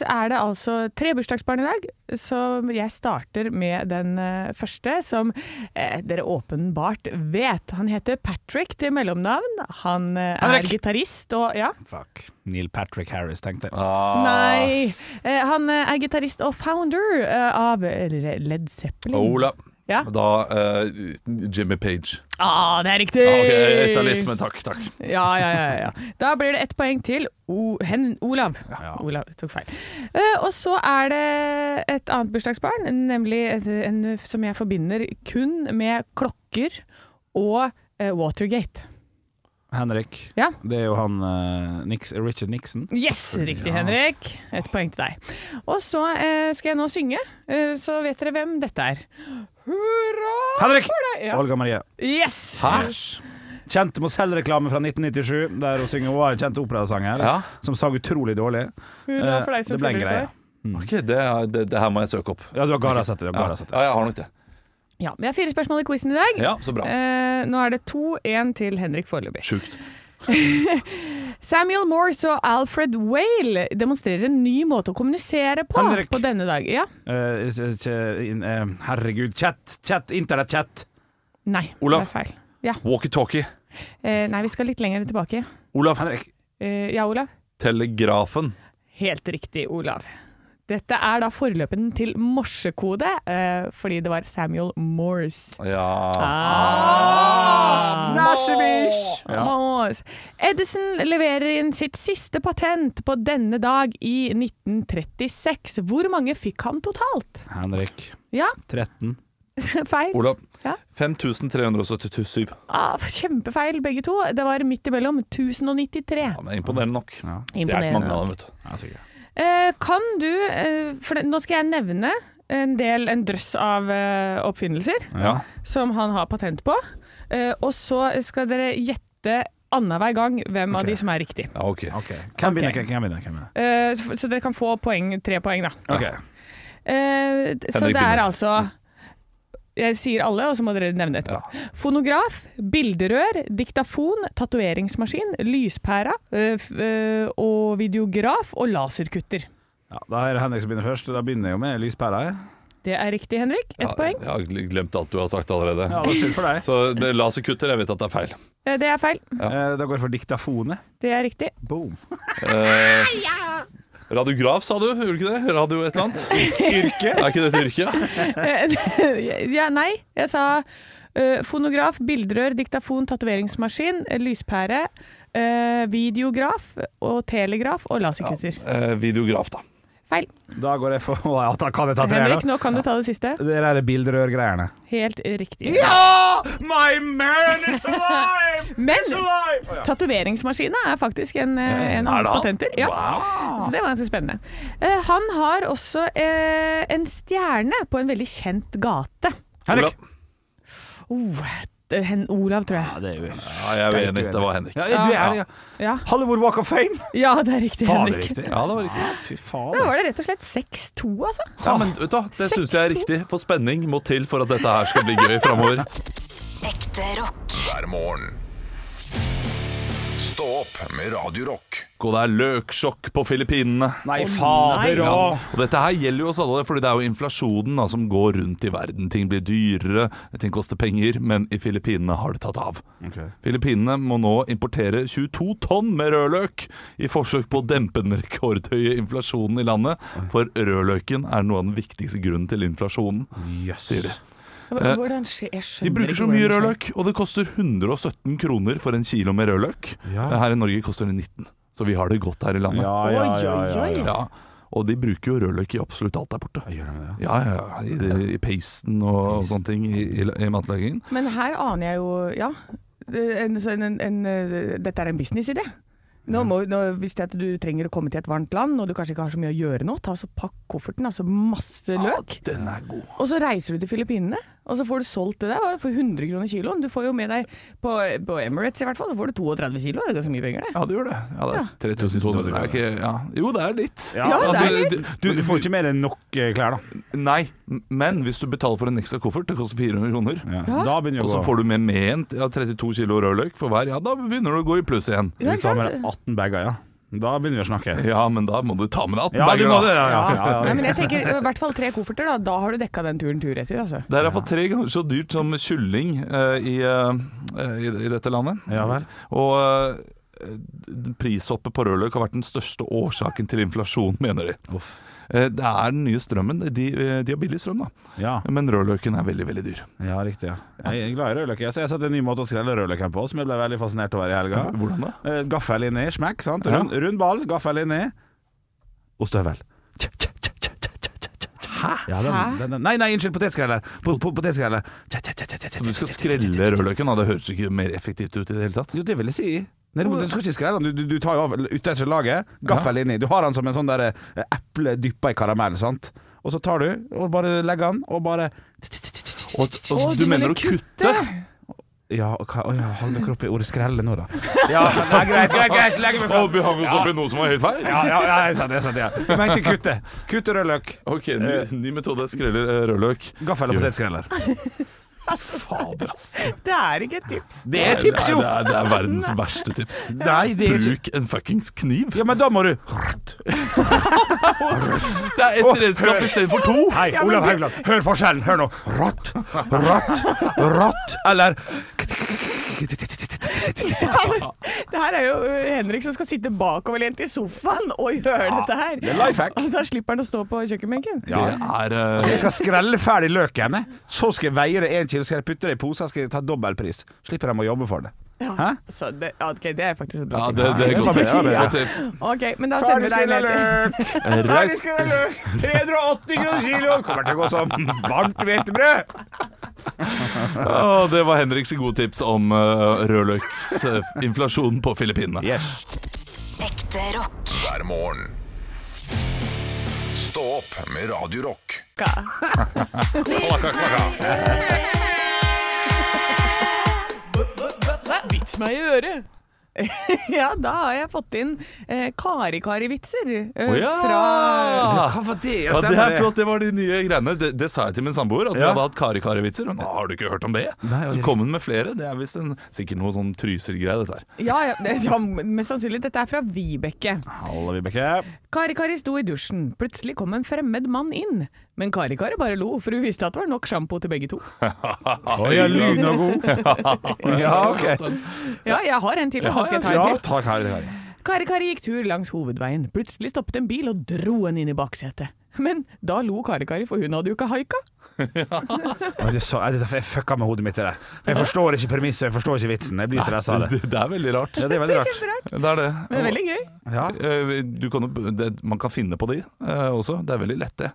[SPEAKER 4] er det altså tre bursdagsbarn i dag, så jeg starter med den eh, første, som eh, dere åpenbart vet. Han heter Patrick til mellomnavn. Han eh, er
[SPEAKER 2] Henrik.
[SPEAKER 4] gitarist og Ja.
[SPEAKER 2] Fuck. Neil Patrick Harris, tenkte jeg.
[SPEAKER 3] Ah.
[SPEAKER 4] Nei. Eh, han eh, er gitarist og founder eh, av Led Zeppelin.
[SPEAKER 3] Ola.
[SPEAKER 4] Ja.
[SPEAKER 3] Da eh, Jimmy Page.
[SPEAKER 4] Ah, det er riktig!
[SPEAKER 3] Ja, ok, ett av litt, men takk. takk.
[SPEAKER 4] Ja, ja, ja, ja. Da blir det ett poeng til o Hen Olav. Olav tok feil. Eh, og så er det et annet bursdagsbarn, nemlig et- en som jeg forbinder kun med klokker og eh, Watergate.
[SPEAKER 2] Henrik.
[SPEAKER 4] Ja.
[SPEAKER 2] Det er jo han eh, Nix, Richard Nixon.
[SPEAKER 4] Yes, riktig, Henrik. Et poeng til deg. Og så eh, skal jeg nå synge, eh, så vet dere hvem dette er. Hurra!
[SPEAKER 2] Henrik!
[SPEAKER 4] Ja.
[SPEAKER 2] Olga Marie.
[SPEAKER 4] Yes!
[SPEAKER 2] Kjent Mozell-reklame fra 1997, der hun synger Hun var en kjent operasanger
[SPEAKER 3] Ja.
[SPEAKER 2] som sang utrolig dårlig.
[SPEAKER 4] Hurra for deg som
[SPEAKER 2] eh, Det ble en
[SPEAKER 4] følger
[SPEAKER 2] greie.
[SPEAKER 4] deg.
[SPEAKER 3] Mm. Ok, det, er- det, det her må jeg søke opp.
[SPEAKER 2] Ja, du har gara sett det. Du har
[SPEAKER 3] Ja,
[SPEAKER 2] gara sett det.
[SPEAKER 3] ja jeg har nok det.
[SPEAKER 4] Ja, vi har fire spørsmål i quizen i dag.
[SPEAKER 3] Ja, Så bra.
[SPEAKER 4] Eh, nå er det 2-1 til Henrik foreløpig.
[SPEAKER 3] Sjukt.
[SPEAKER 4] Samuel Morse og Alfred Whale demonstrerer en ny måte å kommunisere på
[SPEAKER 2] Henrik.
[SPEAKER 4] på denne dag. Ja.
[SPEAKER 2] Eh, ikke- in- eh, herregud, chat, chat, internett-chat.
[SPEAKER 4] Nei,
[SPEAKER 3] Olav.
[SPEAKER 4] det er feil.
[SPEAKER 3] Walkietalkie.
[SPEAKER 4] Eh, nei, vi skal litt lenger tilbake.
[SPEAKER 3] Olav.
[SPEAKER 2] Henrik.
[SPEAKER 4] Eh, ja, Olav?
[SPEAKER 3] Telegrafen.
[SPEAKER 4] Helt riktig, Olav. Dette er da forløpen til morsekode, eh, fordi det var Samuel Morse.
[SPEAKER 3] Ja
[SPEAKER 4] Ah.
[SPEAKER 2] Nasjevish!
[SPEAKER 4] Morse. Edison leverer inn sitt siste patent på denne dag i 1936. Hvor mange fikk han totalt?
[SPEAKER 2] Henrik.
[SPEAKER 4] Ja,
[SPEAKER 2] 13.
[SPEAKER 4] feil.
[SPEAKER 3] Olav.
[SPEAKER 4] Ja.
[SPEAKER 3] 5377.
[SPEAKER 4] Ah, kjempefeil begge to. Det var midt imellom. 1093.
[SPEAKER 3] Ja, men Imponerende nok.
[SPEAKER 2] Ja.
[SPEAKER 3] Stjålet mange av dem, vet du.
[SPEAKER 2] Ja, sikkert.
[SPEAKER 4] Eh, kan du eh, For det, nå skal jeg nevne en del, en drøss av eh, oppfinnelser
[SPEAKER 2] Ja.
[SPEAKER 4] som han har patent på. Eh, og så skal dere gjette annenhver gang hvem av de som er riktig.
[SPEAKER 3] Ja, ok.
[SPEAKER 2] Ok. Hvem vinner? Hvem vinner? Hvem vinner?
[SPEAKER 4] Eh, f- så dere kan få poeng, tre poeng, da.
[SPEAKER 2] Ok.
[SPEAKER 4] Eh, d- så
[SPEAKER 3] Henrik
[SPEAKER 4] det er
[SPEAKER 3] begynner.
[SPEAKER 4] altså Jeg sier alle, og så må dere nevne etterpå. Fonograf, bilderør, diktafon, tatoveringsmaskin, lyspæra eh, f- eh, og videograf og laserkutter.
[SPEAKER 2] Ja, da er det Henrik som begynner først. og Da begynner jeg jo med lyspæra. jeg.
[SPEAKER 4] Det er riktig, Henrik. Ett
[SPEAKER 3] Ja,
[SPEAKER 4] poeng.
[SPEAKER 3] Jeg har glemt alt du har sagt allerede.
[SPEAKER 2] Ja, det er synd for deg.
[SPEAKER 3] Så det- laserkutter, jeg vet at det er feil.
[SPEAKER 4] Eh, Det er feil.
[SPEAKER 2] Eh, Da går jeg for diktafone.
[SPEAKER 4] Det er riktig.
[SPEAKER 2] Boom.
[SPEAKER 3] Eh, radiograf, sa du? Gjorde du ikke det? Radio et eller annet? Yrke? Er ikke det et yrke?
[SPEAKER 4] Eh, ja, nei, jeg sa eh, fonograf, bilderør, diktafon, tatoveringsmaskin, eh, lyspære, eh, videograf og telegraf og laserkutter.
[SPEAKER 3] Eh, videograf, da.
[SPEAKER 4] Feil.
[SPEAKER 2] Da går jeg for Å ja, da kan jeg ta tre,
[SPEAKER 4] Henrik,
[SPEAKER 2] da.
[SPEAKER 4] nå kan du ta det siste.
[SPEAKER 2] Det der er bildrørgreiene.
[SPEAKER 4] Helt riktig.
[SPEAKER 2] Ja! My man is alive!
[SPEAKER 4] Men
[SPEAKER 2] alive! Å, ja.
[SPEAKER 4] tatoveringsmaskina er faktisk en, eh, en av hans patenter. Ja. Så det var ganske spennende. Eh, Han har også eh, en stjerne på en veldig kjent gate.
[SPEAKER 2] Henrik.
[SPEAKER 4] Oh, det- hen- Olav, tror
[SPEAKER 3] Ah.
[SPEAKER 4] jeg.
[SPEAKER 2] det er jo
[SPEAKER 3] Ja, jeg er uenig. Det var Henrik.
[SPEAKER 2] Ja, du er det, ja.
[SPEAKER 4] Ja,
[SPEAKER 2] Hollywood Walk of Fame.
[SPEAKER 4] ja det er riktig,
[SPEAKER 2] Fader,
[SPEAKER 4] Henrik.
[SPEAKER 2] riktig.
[SPEAKER 3] Ja, det var riktig.
[SPEAKER 2] Ah, Fy
[SPEAKER 4] Da
[SPEAKER 2] fader.
[SPEAKER 4] var det rett og slett 6-2, altså.
[SPEAKER 3] Ja, men vet du, hva, Det syns jeg er riktig, for spenning må til for at dette her skal bli gøy framover.
[SPEAKER 6] Ekte rock.
[SPEAKER 1] hver morgen. Stå opp med Radio Rock.
[SPEAKER 3] Og det er løksjokk på Filippinene.
[SPEAKER 2] Nei, fader
[SPEAKER 3] Ja.
[SPEAKER 2] òg.
[SPEAKER 3] Og dette her gjelder jo oss alle, fordi det er jo inflasjonen da, som går rundt i verden. Ting blir dyrere, ting koster penger, men i Filippinene har det tatt av. Filippinene må nå importere 22 tonn med rødløk i forsøk på å dempe den rekordhøye inflasjonen i landet, for rødløken er noe av den viktigste grunnen til inflasjonen. sier de.
[SPEAKER 4] Hvordan skjer jeg skjønner
[SPEAKER 3] De bruker
[SPEAKER 4] ikke
[SPEAKER 3] så
[SPEAKER 4] hvordan
[SPEAKER 3] mye
[SPEAKER 4] det skjer.
[SPEAKER 3] rødløk, og det koster 117 kroner for en kilo med rødløk. Her i Norge koster det 19, så vi har det godt her i landet.
[SPEAKER 2] Ja, ja, ja, ja, ja.
[SPEAKER 3] Ja, og de bruker jo rødløk i absolutt alt der borte.
[SPEAKER 2] Gjør de det?
[SPEAKER 3] Ja, ja, ja. I, i pasten og, og sånne ting i, i, i matlagingen.
[SPEAKER 4] Men her aner jeg jo Ja. Det- En, så en, en, en, eh, dette er en businessidé. Nå må, nå, hvis det er at du trenger å komme til et varmt land og du kanskje ikke har så mye å gjøre nå, ta så pakk kofferten, altså masse
[SPEAKER 2] Ah.
[SPEAKER 4] løk.
[SPEAKER 3] Den er god.
[SPEAKER 4] Og så reiser du til Filippinene, og så får du solgt det der hva, for 100 kroner kiloen. Du får jo med deg på, på Emirates i hvert fall, så får du 32 kilo. Det er ganske mye penger, det.
[SPEAKER 3] Ja, det gjør det. Ja, det er 3200. Det er ikke, ja. Jo, det er litt. Altså,
[SPEAKER 4] Ja, det er litt.
[SPEAKER 3] du,
[SPEAKER 2] Du får ikke mer enn nok eh, klær, da.
[SPEAKER 3] Nei, men hvis du betaler for en ekstra koffert, det koster 400 kroner,
[SPEAKER 2] Så da
[SPEAKER 3] og
[SPEAKER 2] begynner
[SPEAKER 3] så
[SPEAKER 2] det å gå.
[SPEAKER 3] får du med med en ja, 32 kilo rødløk for hver, ja, da begynner du å gå i pluss igjen.
[SPEAKER 4] Ja,
[SPEAKER 2] Hvis du har
[SPEAKER 4] ikke
[SPEAKER 2] med deg
[SPEAKER 4] sant?
[SPEAKER 2] 18 bager, ja. Da begynner vi å snakke.
[SPEAKER 3] Ja, men da må du ta med deg 18
[SPEAKER 2] Ja, du
[SPEAKER 3] bager,
[SPEAKER 2] må
[SPEAKER 3] da.
[SPEAKER 2] det, ja, ja, ja, ja.
[SPEAKER 4] Nei, men jeg tenker i hvert fall tre kofferter, da. Da har du dekka den turen tur-retur, altså.
[SPEAKER 3] Det er iallfall tre ganger så dyrt som kylling eh, i, eh, i, i dette landet.
[SPEAKER 2] Ja vel.
[SPEAKER 3] Og eh, d- prishoppet på rødløk har vært den største årsaken til inflasjon, mener de. Eh, Det er den nye strømmen. De, eh, de har billig strøm, da.
[SPEAKER 2] Ja,
[SPEAKER 3] Men rødløken er veldig, veldig dyr.
[SPEAKER 2] ja riktig. ja Jeg er glad i rødløk. Jeg har sett en ny måte å skrelle rødløken på som jeg ble veldig fascinert over i helga.
[SPEAKER 3] Hvordan da?
[SPEAKER 2] Eh, Gaffel inni, smekk, sant?
[SPEAKER 3] Ja.
[SPEAKER 2] Rund, rund ball, gaffel inni og støvel. Hæ? Ja, den,
[SPEAKER 4] Hæ?
[SPEAKER 2] den, den. Nei, nei, unnskyld, potetskrelle. Po- po- Potetskrelle.
[SPEAKER 3] Så du skal skrelle rødløken? Da. Det høres ikke mer effektivt ut i det hele tatt.
[SPEAKER 2] Jo, det vil jeg si. Nei, du, du skal ikke skrelle den. Du, du, du tar jo av utenfor laget, gaffel inni. Du har den som en sånn der eh, eple dyppa i karamell, sant? Og så tar du og bare legger den, og bare
[SPEAKER 3] Og, og du mener å kutte?
[SPEAKER 2] Ja, og hva, å ja hang dere opp i ordet 'skrelle' nå, da? Ja, nei, greit, greit, greit, legger
[SPEAKER 3] Å,
[SPEAKER 2] meg fram.
[SPEAKER 3] vi hang oss opp i noe som var helt feil?
[SPEAKER 2] Ja, ja, ja, jeg sa det, jeg sa det. Ja. Jeg mente kutte. Kutte rødløk.
[SPEAKER 3] Ok, ny, ny metode. Skreller eh, rødløk.
[SPEAKER 2] Gaffel og
[SPEAKER 3] Gjør.
[SPEAKER 2] potetskreller.
[SPEAKER 3] Fader, ass.
[SPEAKER 4] Det er ikke et tips.
[SPEAKER 2] Det er tips, jo!
[SPEAKER 3] Det er, det er verdens verste tips.
[SPEAKER 2] Nei, det er ikke
[SPEAKER 3] Bruk en fuckings kniv.
[SPEAKER 2] Ja, men da må du
[SPEAKER 3] Det er ett redskap istedenfor to.
[SPEAKER 2] Hei, Olav Haugland, hør forskjellen. Hør nå. Rått, rått, rått. Eller
[SPEAKER 4] Ja, men Det her er jo ø, Henrik som skal sitte bakoverlent i sofaen og gjøre dette her.
[SPEAKER 2] det er lifehack.
[SPEAKER 4] Og Da slipper han å stå på kjøkkenbenken.
[SPEAKER 3] Det er eh,
[SPEAKER 2] Så jeg skal skrelle ferdig løken, jeg. så skal jeg veie det én kilo, skal jeg putte det i poser, skal jeg ta dobbel pris. Slipper de å jobbe for det.
[SPEAKER 4] Ja.
[SPEAKER 2] Hæ?
[SPEAKER 4] Så det, ja, ok, det er faktisk
[SPEAKER 3] ja,
[SPEAKER 4] et bra
[SPEAKER 3] det,
[SPEAKER 4] tips.
[SPEAKER 3] det er
[SPEAKER 2] Ja,
[SPEAKER 3] godt
[SPEAKER 2] det
[SPEAKER 3] tips.
[SPEAKER 2] var bra,
[SPEAKER 3] Godt
[SPEAKER 2] det,
[SPEAKER 3] tips.
[SPEAKER 4] Ok, men da sender vi deg ned
[SPEAKER 3] Eh,
[SPEAKER 4] til
[SPEAKER 3] Reis,
[SPEAKER 2] Ferdigskrella løk! 380 kroner kiloen! Kommer til å gå som varmt hvetebrød!
[SPEAKER 3] Å, det var Henriks gode tips om uh, rødløksinflasjonen på Filippinene.
[SPEAKER 2] Yes.
[SPEAKER 6] Ekte rock.
[SPEAKER 1] hver morgen. Stå opp med Radio Rock.
[SPEAKER 4] Ka. Vits meg i øret! ja, da har jeg fått inn eh, Kari-Kari-vitser eh,
[SPEAKER 3] Å, ja!
[SPEAKER 4] fra
[SPEAKER 2] Hva var det?
[SPEAKER 3] Ja, det
[SPEAKER 2] Stemmer
[SPEAKER 3] er flott, det var de nye greiene. Det, det sa jeg til min samboer, at vi
[SPEAKER 2] Ja.
[SPEAKER 3] hadde hatt kari-kari-vitser. Og nå har du ikke hørt om det?
[SPEAKER 2] Nei, ja,
[SPEAKER 3] så
[SPEAKER 2] det er
[SPEAKER 3] kom hun med flere. Det er visst en- sikkert noe sånn Trysil-greie, dette her.
[SPEAKER 4] ja, ja, ja, mest sannsynlig. Dette er fra Vibeke.
[SPEAKER 2] Hallo, Vibeke.
[SPEAKER 4] Kari-Kari sto i dusjen. Plutselig kom en fremmed mann inn. Men Kari-Kari bare lo, for hun visste at det var nok sjampo til begge to.
[SPEAKER 2] Oi, ja, lun og god. Ja, ok.
[SPEAKER 4] Ja, jeg har en til, så skal jeg ta en
[SPEAKER 2] Ja,
[SPEAKER 4] til.
[SPEAKER 2] ta Kari, Kari.
[SPEAKER 4] Kari-Kari gikk tur langs hovedveien. Plutselig stoppet en bil og dro henne inn i baksetet. Men da lo Kari-Kari, for hun hadde jo ikke haika.
[SPEAKER 2] Og det er så- Jeg jeg fucka med hodet mitt i det. Jeg forstår ikke premisset, jeg forstår ikke vitsen. Jeg blir stressa av det.
[SPEAKER 3] Det, det er veldig rart.
[SPEAKER 2] Ja, det er veldig rart.
[SPEAKER 3] Det er det.
[SPEAKER 4] Men det er veldig gøy.
[SPEAKER 2] Ja.
[SPEAKER 3] Eh, Du kan, jo- det, man kan finne på de eh, også. Det er veldig lett, det.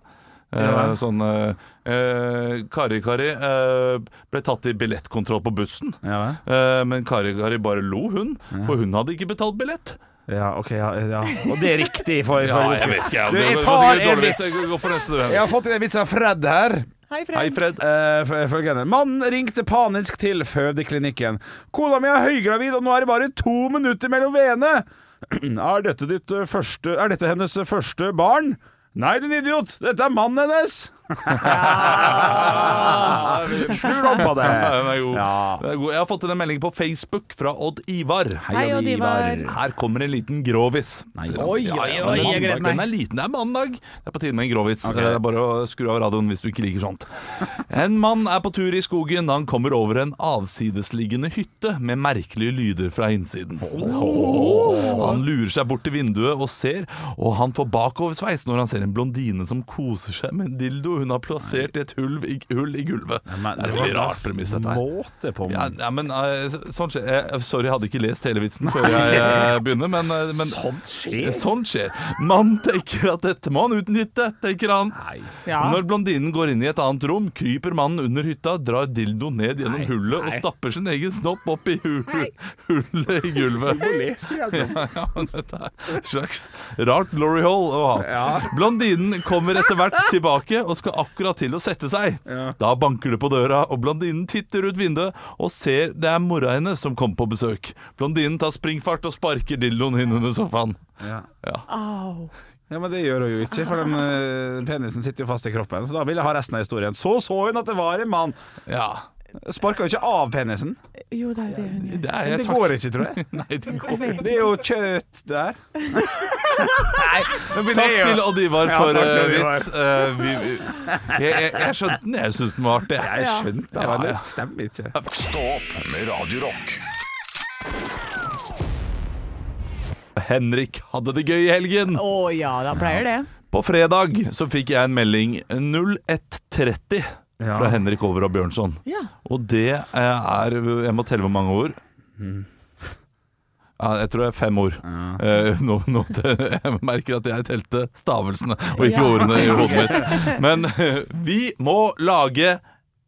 [SPEAKER 3] Eh,
[SPEAKER 2] Ja.
[SPEAKER 3] sånn eh, eh, Kari Kari eh, ble tatt i billettkontroll på bussen.
[SPEAKER 2] Ja, vel.
[SPEAKER 3] Eh, men Kari Kari bare lo, hun. For hun hadde ikke betalt billett.
[SPEAKER 2] ja, OK, ja, ja. Og det er riktig. For, for,
[SPEAKER 3] ja.
[SPEAKER 2] Du, jeg
[SPEAKER 3] Det-
[SPEAKER 2] tar
[SPEAKER 3] det er
[SPEAKER 2] en
[SPEAKER 3] dårlig
[SPEAKER 2] vits.
[SPEAKER 3] Jeg går for neste, du.
[SPEAKER 2] Jeg har fått inn en vits av Fred her.
[SPEAKER 4] Hei, Fred.
[SPEAKER 3] Hei, Fred.
[SPEAKER 2] Eh, f- følgende Mannen ringte panisk til fødeklinikken. Kona mi er høygravid, og nå er det bare to minutter mellom veene. Er dette, ditt eh, første, er dette hennes eh, første barn? Nei, din idiot! Dette er mannen hennes! Slu rumpa det!
[SPEAKER 3] Ja, den er god.
[SPEAKER 2] Ja.
[SPEAKER 3] Den er god. Jeg har fått inn en melding på Facebook fra Odd Ivar.
[SPEAKER 4] Hei, Odd Ivar.
[SPEAKER 3] Her kommer en liten grovis. Sier han.
[SPEAKER 4] Oi,
[SPEAKER 3] Ja, ja,
[SPEAKER 4] oi,
[SPEAKER 3] den er
[SPEAKER 4] jeg gleder
[SPEAKER 3] mandag.
[SPEAKER 4] meg.
[SPEAKER 3] Den er liten, det er mandag. Det er på tide med en grovis. Det er bare å skru av radioen hvis du ikke liker sånt. En mann er på tur i skogen da han kommer over en avsidesliggende hytte med merkelige lyder fra innsiden. Han lurer seg bort til vinduet og ser, og han får bakoversveis når han ser en blondine som koser seg med en dildo hun har plassert i et hull i, hull i gulvet.
[SPEAKER 2] Men
[SPEAKER 3] det er veldig rart premiss, dette her.
[SPEAKER 2] Måte på
[SPEAKER 3] Ja, ja, men eh, så- sånn skjer eh, Sorry, jeg hadde ikke lest hele vitsen før jeg eh, begynner, men, eh, men
[SPEAKER 2] Sånt
[SPEAKER 3] Eh,
[SPEAKER 2] skjer!
[SPEAKER 3] Sånn skjer. Mannen tenker at dette må han utnytte, tenker han.
[SPEAKER 4] Ja.
[SPEAKER 3] Når blondinen går inn i et annet rom, kryper mannen under hytta, drar dildo ned gjennom hullet og stapper sin egen snopp opp i hu- hullet i gulvet. Ja, ja, men dette er et slags rart glory hole å ha. Blondinen kommer etter hvert tilbake og skal akkurat til å sette seg. Da banker det på døra, og blondinen titter ut vinduet og ser det er mora hennes som kommer på besøk. Blondinen tar springfart og sparker dildoen inn under sofaen.
[SPEAKER 2] Ja.
[SPEAKER 4] Au.
[SPEAKER 2] Ja, men det gjør hun jo ikke, for den eh, penisen sitter jo fast i kroppen. Så da vil jeg ha resten av historien. Så så hun at det var en mann.
[SPEAKER 3] Ja,
[SPEAKER 2] Sparka jo ikke av penisen.
[SPEAKER 4] Jo, det er det hun gjør.
[SPEAKER 3] det er
[SPEAKER 2] Det
[SPEAKER 3] jeg
[SPEAKER 2] går ikke, tror jeg.
[SPEAKER 3] Nei, det går
[SPEAKER 4] Jeg vet.
[SPEAKER 2] Det er jo kjøtt der. Nei,
[SPEAKER 3] Takk til Odd Ivar
[SPEAKER 2] Ja,
[SPEAKER 3] for
[SPEAKER 2] takk til
[SPEAKER 3] eh,
[SPEAKER 2] Odd Ivar.
[SPEAKER 3] vits. Eh, vi, vi, jeg, jeg, jeg skjønte den. Jeg syns den var artig.
[SPEAKER 2] Jeg skjønte det,
[SPEAKER 3] Ja,
[SPEAKER 2] men det
[SPEAKER 3] ja.
[SPEAKER 2] stemmer ikke.
[SPEAKER 1] Stå opp med Radio Rock.
[SPEAKER 3] Henrik hadde det gøy i helgen.
[SPEAKER 4] Å ja, da pleier det.
[SPEAKER 3] På fredag så fikk jeg en melding 0130 fra Henrik Over og Bjørnson.
[SPEAKER 4] Ja.
[SPEAKER 3] Og det eh, er Jeg må telle hvor mange ord. Mm. Ja, jeg tror det er fem ord. Eh, nå, nå, jeg merker at jeg telte stavelsene og ikke
[SPEAKER 4] Ja.
[SPEAKER 3] ordene i hodet mitt. Men eh, vi må lage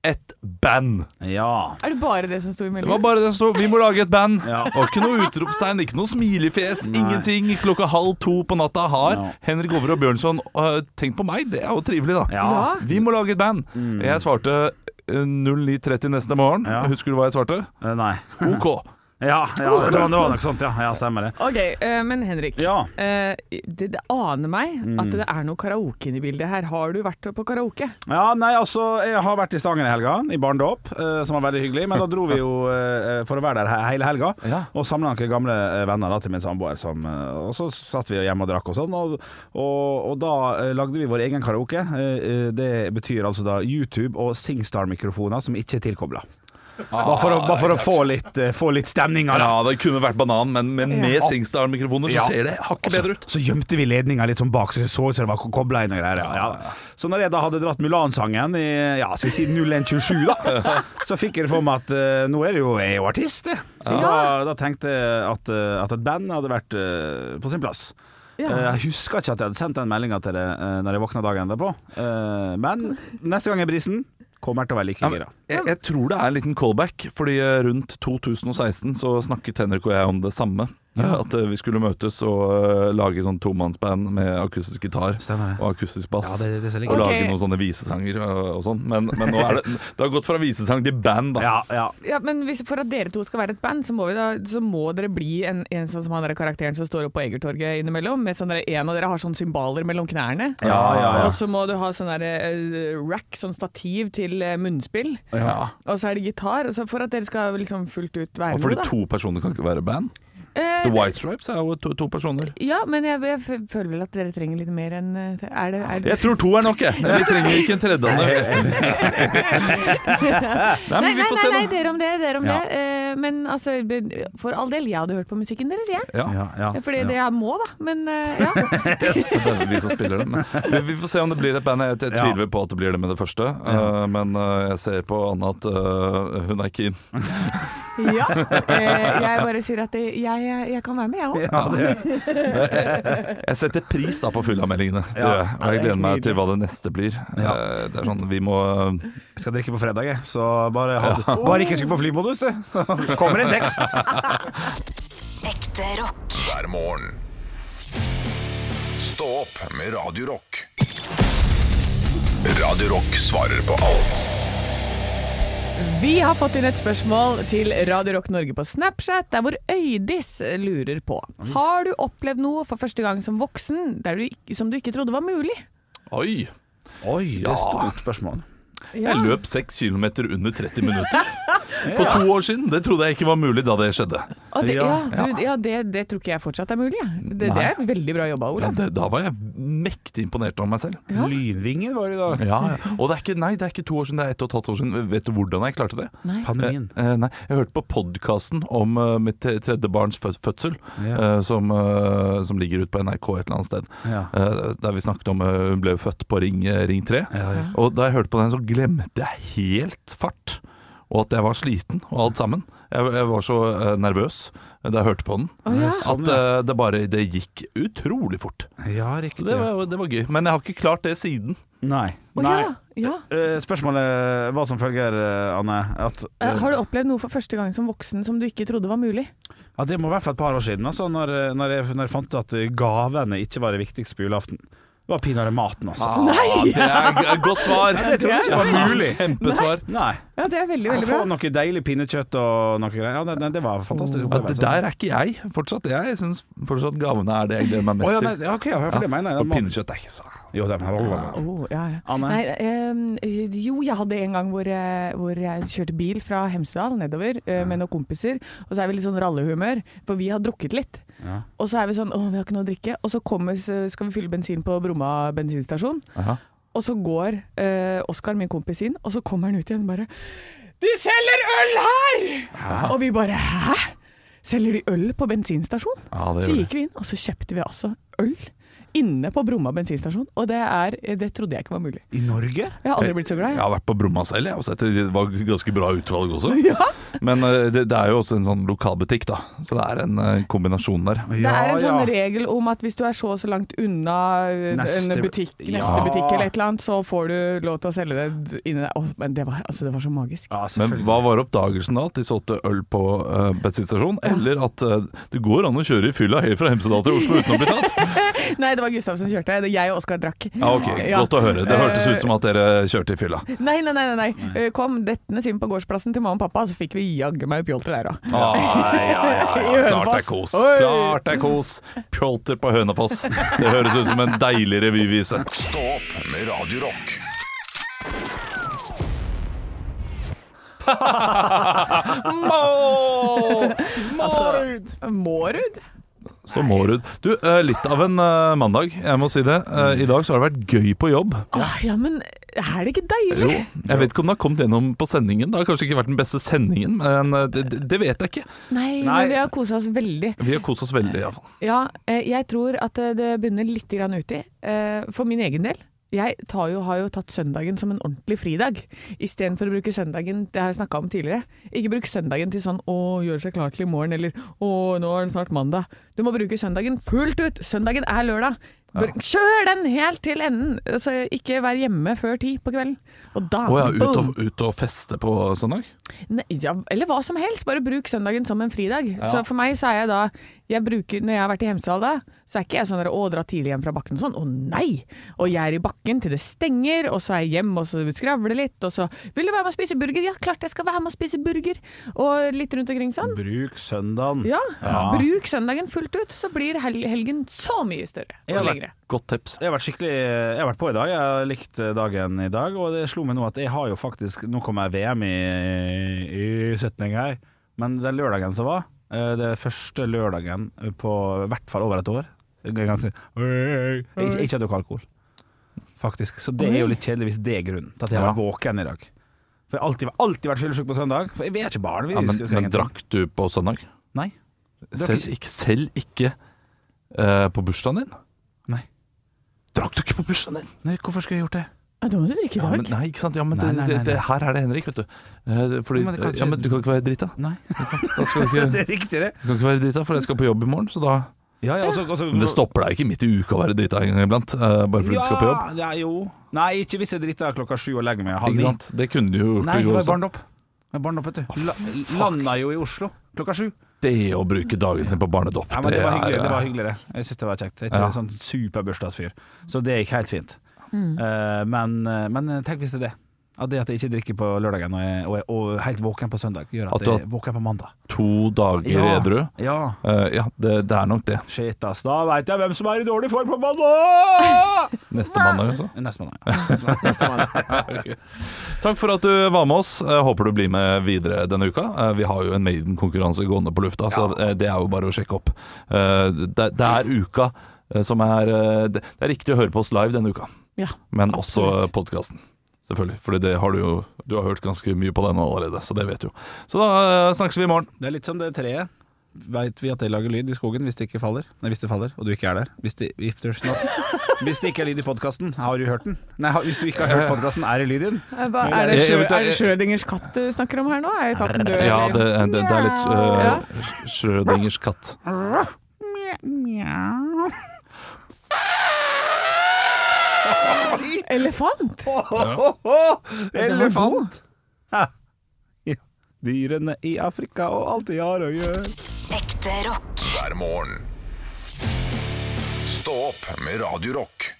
[SPEAKER 3] et band.
[SPEAKER 2] Ja.
[SPEAKER 4] Er det bare det som sto i
[SPEAKER 3] Det var
[SPEAKER 4] meldingen?
[SPEAKER 3] bare det som sto. Vi må lage et band.
[SPEAKER 2] Ja.
[SPEAKER 3] Og ikke noe utropstegn, ikke noe smilefjes,
[SPEAKER 2] Nei.
[SPEAKER 3] ingenting. Klokka halv to på natta har
[SPEAKER 2] Ja.
[SPEAKER 3] Henrik Over og Bjørnson øh, tenkt på meg. Det er jo trivelig, da.
[SPEAKER 2] Ja. Mm.
[SPEAKER 3] Vi må lage et band. Jeg svarte øh, 09.30 neste morgen.
[SPEAKER 2] Ja.
[SPEAKER 3] Husker du hva jeg svarte?
[SPEAKER 2] Eh, Nei.
[SPEAKER 3] OK.
[SPEAKER 2] Ja, ja det, var, det var nok sånt, ja. Ja, stemmer det.
[SPEAKER 4] Ok, eh, men Henrik.
[SPEAKER 2] Ja.
[SPEAKER 4] eh, det, det aner meg
[SPEAKER 3] Mm.
[SPEAKER 4] at det er noe karaoke inne i bildet her. Har du vært på karaoke?
[SPEAKER 2] Ja, nei, altså, jeg har vært i Stangen i helga, i barndåp, eh, som var veldig hyggelig. Men da dro vi jo eh, for å være der he- hele helga,
[SPEAKER 3] Ja.
[SPEAKER 2] og samla noen gamle eh, venner da, til min samboer. Som, eh, og så satt vi hjemme og drakk og sånn, og, og, og da eh, lagde vi vår egen karaoke. Eh, eh, Det betyr altså da YouTube og SingStar-mikrofoner som ikke er tilkobla. Bare for å, bare for å få litt, eh, få litt stemninga, da.
[SPEAKER 3] Ah, Ja, det kunne vært banan, men med, med Singstar-mikrofoner så
[SPEAKER 2] Ja.
[SPEAKER 3] ser det hakket bedre ut.
[SPEAKER 2] Så gjemte vi ledninga litt sånn bak, så det så ut som det var kobla inn og greier. Ja, ja. Så når jeg da hadde dratt Mulan-sangen i ja, skal vi si 0127, da, så fikk jeg det for meg at eh, nå er det jo, jeg er jo artist, jeg. Så da, da tenkte jeg at, eh, at et band hadde vært eh, på sin plass.
[SPEAKER 4] Ja.
[SPEAKER 2] Eh, Jeg husker ikke at jeg hadde sendt den meldinga til det eh, Når jeg våkna dagen derpå, Eh, men neste gang er brisen. Kommer til å være like
[SPEAKER 3] Ja, men
[SPEAKER 2] gira.
[SPEAKER 3] jeg, jeg tror det er en liten callback, fordi eh, rundt 2016 så snakket Henrik og jeg om det samme. At eh, vi skulle møtes og eh, lage sånn tomannsband med akustisk gitar
[SPEAKER 2] Stemmer det.
[SPEAKER 3] og akustisk bass.
[SPEAKER 2] Ja, det- det ser litt
[SPEAKER 3] og
[SPEAKER 4] gøy.
[SPEAKER 3] lage
[SPEAKER 4] Ok.
[SPEAKER 3] noen sånne visesanger og, og sånn. Men, men nå er det, det har gått fra visesang til band, da.
[SPEAKER 2] Ja, ja.
[SPEAKER 4] Ja, men hvis, For at dere to skal være et band, så må, vi da, så må dere bli en, en sånn som han der karakteren som står oppe på Egertorget innimellom. Med sånn der, en av dere har sånn symbaler mellom knærne.
[SPEAKER 2] Ja, ja, ja.
[SPEAKER 4] Og så må du ha sånn der, eh, rack, sånn stativ til eh, munnspill. Og så er det gitar. Og så for at dere skal liksom fullt ut være
[SPEAKER 3] Og
[SPEAKER 4] med,
[SPEAKER 3] fordi
[SPEAKER 4] da.
[SPEAKER 3] to personer kan ikke være band.
[SPEAKER 4] Eh,
[SPEAKER 3] The White Stripes er jo to, to personer.
[SPEAKER 4] ja, men jeg, jeg f- føler vel at dere trenger litt mer enn eh, Er det, er det
[SPEAKER 3] Jeg tror to er nok, jeg. Vi trenger ikke en tredje. Anne. Nei, men vi får se, da.
[SPEAKER 4] dere om det, dere om
[SPEAKER 2] Ja.
[SPEAKER 4] det. Eh, eh, men altså, be- for all del, jeg hadde hørt på musikken deres, jeg.
[SPEAKER 3] Ja.
[SPEAKER 2] Ja, ja.
[SPEAKER 4] Fordi det jeg må, da. Men eh, ja.
[SPEAKER 3] Det er vi som spiller den. Vi, vi får se om det blir et band. Jeg, jeg
[SPEAKER 2] Ja.
[SPEAKER 3] tviler på at det blir det med det første, eh, men eh, jeg ser på Anne at eh, hun er keen.
[SPEAKER 4] ja. Eh, jeg bare sier at det- jeg, jeg, jeg kan være med, jeg òg.
[SPEAKER 2] Ja, det,
[SPEAKER 3] Jeg setter pris da på fullameldingene, det gjør jeg. og jeg gleder meg til hva det neste blir.
[SPEAKER 2] Ja.
[SPEAKER 3] Eh, Det er sånn, vi må
[SPEAKER 2] jeg skal drikke på fredag, jeg. Så bare, ha, bare ikke skru på flymodus, du. Så kommer en tekst.
[SPEAKER 6] Ekte rock.
[SPEAKER 1] hver morgen. Stå opp med Radio Rock. Radio Rock svarer på alt
[SPEAKER 4] Vi har fått inn et spørsmål til Radio Rock Norge på Snapchat, der hvor Øydis lurer på. Har du opplevd noe for første gang som voksen der du, ikke- som du ikke trodde var mulig?
[SPEAKER 3] Oi!
[SPEAKER 2] Oi, det er stort spørsmål.
[SPEAKER 4] Ja.
[SPEAKER 3] Jeg løp 6 km under 30 minutter for to år siden. Det trodde jeg ikke var mulig da det skjedde.
[SPEAKER 4] Og det, ja,
[SPEAKER 2] Ja.
[SPEAKER 4] du, ja det, det tror ikke jeg fortsatt er mulig. jeg. Det, det
[SPEAKER 3] Nei.
[SPEAKER 4] er veldig bra jobba,
[SPEAKER 3] Ja,
[SPEAKER 4] Olav.
[SPEAKER 3] det, da var jeg mektig imponert over meg selv.
[SPEAKER 2] Lynvingen var det i dag.
[SPEAKER 3] Ja, ja. Og det er ikke, nei, det er ikke to år siden, det er ett og et halvt år siden. Vet du hvordan jeg klarte det?
[SPEAKER 4] Nei.
[SPEAKER 2] Pandemien.
[SPEAKER 3] Eh, eh, nei, jeg hørte på podkasten om eh, mitt te- tredje barns fø- fødsel,
[SPEAKER 2] Ja.
[SPEAKER 3] eh, som, eh, som ligger ute på NRK et eller annet sted.
[SPEAKER 2] Ja.
[SPEAKER 3] Eh, der vi snakket om eh, hun ble jo født på Ring, eh, ring 3. Og da jeg hørte på den, så glemte jeg helt fart. Og at jeg var sliten og alt sammen. Jeg, jeg var så eh, nervøs da jeg hørte på den.
[SPEAKER 4] ja.
[SPEAKER 2] Sånn,
[SPEAKER 3] at eh, det bare det gikk utrolig fort.
[SPEAKER 2] Ja,
[SPEAKER 3] Så
[SPEAKER 2] riktig.
[SPEAKER 3] det var, det var gøy. Men jeg har ikke klart det siden.
[SPEAKER 2] Nei.
[SPEAKER 4] Å,
[SPEAKER 2] Nei.
[SPEAKER 4] ja, ja.
[SPEAKER 2] Eh, Spørsmålet var som følger, eh, Anne. At,
[SPEAKER 4] Eh, Har du opplevd noe for første gang som voksen som du ikke trodde var mulig?
[SPEAKER 2] eh, Ja, Det må være for et par år siden, altså, når, når, jeg, når jeg fant ut at eh, gavene ikke var det viktigste på julaften. Det var pinadø maten, altså.
[SPEAKER 3] Ah. Nei! Det er et godt svar.
[SPEAKER 2] det trodde jeg ikke var mulig.
[SPEAKER 3] Kjempesvar.
[SPEAKER 2] Nei.
[SPEAKER 4] Ja, det er veldig,
[SPEAKER 2] Å
[SPEAKER 4] veldig
[SPEAKER 2] få
[SPEAKER 4] bra.
[SPEAKER 2] noe deilig pinnekjøtt og noe greier. Ja, det, det- det var en fantastisk
[SPEAKER 3] Ja, det
[SPEAKER 2] opplevelse. altså.
[SPEAKER 3] der er ikke jeg fortsatt. Jeg syns fortsatt gavene er det jeg gleder meg
[SPEAKER 2] Å, ja,
[SPEAKER 3] mest
[SPEAKER 2] nei,
[SPEAKER 3] til.
[SPEAKER 2] ja, ok, ja, for det mener jeg.
[SPEAKER 3] Og
[SPEAKER 2] Den maten-
[SPEAKER 3] pinnekjøtt er ikke så
[SPEAKER 2] Jo, den her var
[SPEAKER 4] Oh, ja, ja.
[SPEAKER 2] Anne?
[SPEAKER 4] Nei, ehm, jo, jeg hadde en gang hvor, eh, hvor jeg kjørte bil fra Hemsedal nedover eh, med noen kompiser. Og så er vi litt sånn rallehumør, for vi har drukket litt.
[SPEAKER 2] Ja.
[SPEAKER 4] Og så er vi sånn Å, vi har ikke noe å drikke. Og så kommer, så skal vi fylle bensin på Bromma bensinstasjon.
[SPEAKER 3] Aha.
[SPEAKER 4] Og så går eh, Oskar, min kompis, inn, og så kommer han ut igjen og bare De selger øl her! Og vi bare Hæ? Selger de øl på bensinstasjon?
[SPEAKER 3] Ja, det
[SPEAKER 4] så
[SPEAKER 3] gjør
[SPEAKER 4] gikk vi inn, og så kjøpte vi altså øl inne på Bromma bensinstasjon. Og det, er, det trodde jeg ikke var mulig.
[SPEAKER 2] I Norge?
[SPEAKER 4] Jeg har aldri blitt så glad.
[SPEAKER 3] Jeg
[SPEAKER 4] jeg.
[SPEAKER 3] har vært på Bromma selv, jeg, og sett det var ganske bra utvalg også. Men eh, det, det er jo også en sånn lokalbutikk, da. Så det er en eh, kombinasjon der.
[SPEAKER 4] Det er en sånn
[SPEAKER 2] ja.
[SPEAKER 4] regel om at hvis du er så og så langt unna eh,
[SPEAKER 2] Neste-
[SPEAKER 4] en butikk,
[SPEAKER 2] Ja.
[SPEAKER 4] neste butikk eller et eller annet, så får du lov til å selge det inne der. Åh, Men det var, altså, det var så magisk.
[SPEAKER 2] Ja,
[SPEAKER 3] Men
[SPEAKER 2] selvfølgelig.
[SPEAKER 3] hva var oppdagelsen da? At de solgte øl på uh, bensinstasjon? Eller at eh, det går an å kjøre i fylla helt fra Hemsedal til Oslo uten å bli tatt?
[SPEAKER 4] Nei, det var Gustav som kjørte. Jeg og Oskar drakk.
[SPEAKER 3] Ja, ok,
[SPEAKER 4] Ja.
[SPEAKER 3] Godt å høre. Det hørtes ut som at dere kjørte i fylla.
[SPEAKER 4] Nei, nei, nei, nei. nei. Eh, Kom dettende inn på gårdsplassen til mamma og pappa, så fikk vi jaggu meg pjolter der òg.
[SPEAKER 3] Ah, ja, ja, ja. Klart
[SPEAKER 4] I
[SPEAKER 3] det er
[SPEAKER 4] Hønefoss.
[SPEAKER 3] kos.
[SPEAKER 4] Oi.
[SPEAKER 3] Klart det er kos. Pjolter på Hønefoss. Det høres ut som en deilig revyvise.
[SPEAKER 1] Stå opp med Radio Rock
[SPEAKER 4] Mårud?
[SPEAKER 3] Så Mårud. Du, eh, litt av en eh, mandag, jeg må si det.
[SPEAKER 2] Mm.
[SPEAKER 3] Eh, I dag så har det vært gøy på jobb.
[SPEAKER 4] Åh, Ah, ja, men er det ikke
[SPEAKER 3] Jo,
[SPEAKER 4] deilig?
[SPEAKER 3] jeg vet ikke om det har kommet gjennom på sendingen. Det har kanskje ikke vært den beste sendingen, men eh, det, det- det vet jeg ikke.
[SPEAKER 4] Nei,
[SPEAKER 2] Nei.
[SPEAKER 4] men vi har kosa oss veldig.
[SPEAKER 3] Vi har kost oss veldig, iallfall.
[SPEAKER 4] Ja, eh, jeg tror at eh, det begynner litt grann uti. eh, For min egen del. Jeg tar jo, har jo tatt søndagen som en ordentlig fridag, istedenfor å bruke søndagen Det har jeg snakka om tidligere. Ikke bruk søndagen til sånn 'å, gjøre seg klar til i morgen', eller 'å, nå er det snart mandag'. Du må bruke søndagen fullt ut! Søndagen er lørdag! Br- Kjør den helt til enden! Så ikke vær hjemme før ti på kvelden. Og da
[SPEAKER 3] Å ja, ut
[SPEAKER 4] boom!
[SPEAKER 3] og, ut og feste på søndag?
[SPEAKER 4] Nei, ja, eller hva som helst, bare bruk søndagen som en fridag. Så for meg så er jeg da jeg bruker, Når jeg har vært i Hemsedal da, så er ikke jeg sånn der, å dra tidlig hjem fra bakken og sånn. Å nei! Og jeg er i bakken til det stenger, og så er jeg hjemme og så skravler litt, og så Vil du være med og spise burger? Ja, klart jeg skal være med og spise burger! Og litt rundt omkring sånn.
[SPEAKER 2] Bruk søndagen.
[SPEAKER 4] Ja.
[SPEAKER 2] Ja.
[SPEAKER 4] Bruk søndagen fullt ut, så blir hel helgen så mye større
[SPEAKER 2] Ja,
[SPEAKER 4] og
[SPEAKER 2] vel.
[SPEAKER 4] lengre.
[SPEAKER 3] Godt tips.
[SPEAKER 2] Jeg har vært skikkelig Jeg har vært på i dag. Jeg har likt dagen i dag. Og det slo meg nå at jeg har jo faktisk Nå kommer VM i, i 17 her. Men den lørdagen som var, eh, det første lørdagen på i hvert fall over et år Jeg kan si, «Øy, øy», Ikke ikke hadde drukket alkohol, faktisk. Så det er jo litt kjedelig hvis det er grunnen til at jeg har vært våken i dag. For jeg har alltid, alltid vært fyllesyk på søndag. For vi er ikke barn. Vi
[SPEAKER 3] Ja, men,
[SPEAKER 2] skal- skal
[SPEAKER 3] men
[SPEAKER 2] ingenting.
[SPEAKER 3] drakk du på søndag?
[SPEAKER 2] Nei. Drakk
[SPEAKER 3] Selv ikke, selv ikke eh, på bursdagen din?
[SPEAKER 2] Nei.
[SPEAKER 3] Drakk du ikke på bursdagen din?
[SPEAKER 2] Nei, hvorfor skulle jeg gjort det?
[SPEAKER 4] Ja, da må du drikke i
[SPEAKER 3] Ja,
[SPEAKER 4] dag.
[SPEAKER 3] men, nei, ikke sant? Ja, men
[SPEAKER 2] Nei,
[SPEAKER 3] det,
[SPEAKER 2] nei,
[SPEAKER 3] det,
[SPEAKER 2] nei,
[SPEAKER 3] det, her er det Henrik, vet du. Eh, Fordi,
[SPEAKER 2] Ja, men det kan ikke-
[SPEAKER 3] ja, men du kan ikke være drita.
[SPEAKER 2] Nei.
[SPEAKER 3] Da skal du ikke,
[SPEAKER 2] Det er riktig, det.
[SPEAKER 3] du kan ikke være drita, for jeg skal på jobb i morgen. Så da
[SPEAKER 2] Ja, ja, også, også,
[SPEAKER 3] Men det stopper deg ikke midt i uka å være drita en gang iblant, eh, bare fordi du skal på jobb.
[SPEAKER 2] Ja, ja, jo. Nei, ikke hvis jeg driter klokka sju og legger meg halv
[SPEAKER 3] Ikke
[SPEAKER 2] ni.
[SPEAKER 3] sant? Det kunne du jo gjort
[SPEAKER 2] Nei,
[SPEAKER 3] i
[SPEAKER 2] jeg
[SPEAKER 3] går
[SPEAKER 2] var i
[SPEAKER 3] også.
[SPEAKER 2] barndopp. Jeg var i barndopp, vet du.
[SPEAKER 3] fuck.
[SPEAKER 2] La, landa jo i Oslo klokka sju.
[SPEAKER 3] Det å bruke dagen sin på barnedåp,
[SPEAKER 2] Ja, men det var
[SPEAKER 3] er,
[SPEAKER 2] hyggelig, det var
[SPEAKER 3] eh,
[SPEAKER 2] hyggelig det. Jeg syns det var kjekt. Jeg er
[SPEAKER 3] Ja.
[SPEAKER 2] ikke en sånn superbursdagsfyr, så det gikk helt fint. Eh, men, men tenk hvis det er det. At det at jeg ikke drikker på lørdagen og er, og er og helt våken på søndag, gjør at,
[SPEAKER 3] At du har-
[SPEAKER 2] jeg er våken på mandag.
[SPEAKER 3] to dager edru.
[SPEAKER 2] ja.
[SPEAKER 3] Eh, ja, det, det er nok det.
[SPEAKER 2] Shit, ass. Da veit jeg hvem som er i dårlig form på mandag!
[SPEAKER 3] Neste mandag, altså.
[SPEAKER 2] Neste mandag. Neste mandag.
[SPEAKER 3] Takk for at du var med oss. Jeg håper du blir med videre denne uka. Eh, Vi har jo en Maiden-konkurranse gående på lufta, så eh, det er jo bare å sjekke opp. Eh, Det, det er uka eh, som er eh, Det det er riktig å høre på oss live denne uka,
[SPEAKER 4] Ja,
[SPEAKER 3] men også podkasten. Selvfølgelig, for det har du jo Du har hørt ganske mye på den allerede, så det vet du jo. Så da eh, snakkes vi i morgen.
[SPEAKER 2] Det er litt som det treet. Veit vi at det lager lyd i skogen hvis det ikke faller? Nei, hvis det faller, og du ikke er der. Hvis det, if there's not. Hvis det ikke er lyd i podkasten, har du hørt den? Nei, ha- hvis du ikke har hørt podkasten, er det lyd i den?
[SPEAKER 4] Hva, er,
[SPEAKER 3] Jeg-
[SPEAKER 4] det
[SPEAKER 3] jeg
[SPEAKER 4] Schrø-
[SPEAKER 3] vet- eh,
[SPEAKER 4] er det Schrødingers katt du snakker om her nå? Er katten død?
[SPEAKER 3] Ja, det, eh,
[SPEAKER 4] eller?
[SPEAKER 3] det, det er litt
[SPEAKER 4] Ja.
[SPEAKER 3] uh, Schrødingers katt.
[SPEAKER 4] Elefant?
[SPEAKER 2] Elefant! Dyrene i Afrika og alt de har å gjøre.
[SPEAKER 6] Ekte rock.
[SPEAKER 1] hver morgen. Stå opp med Radio Rock.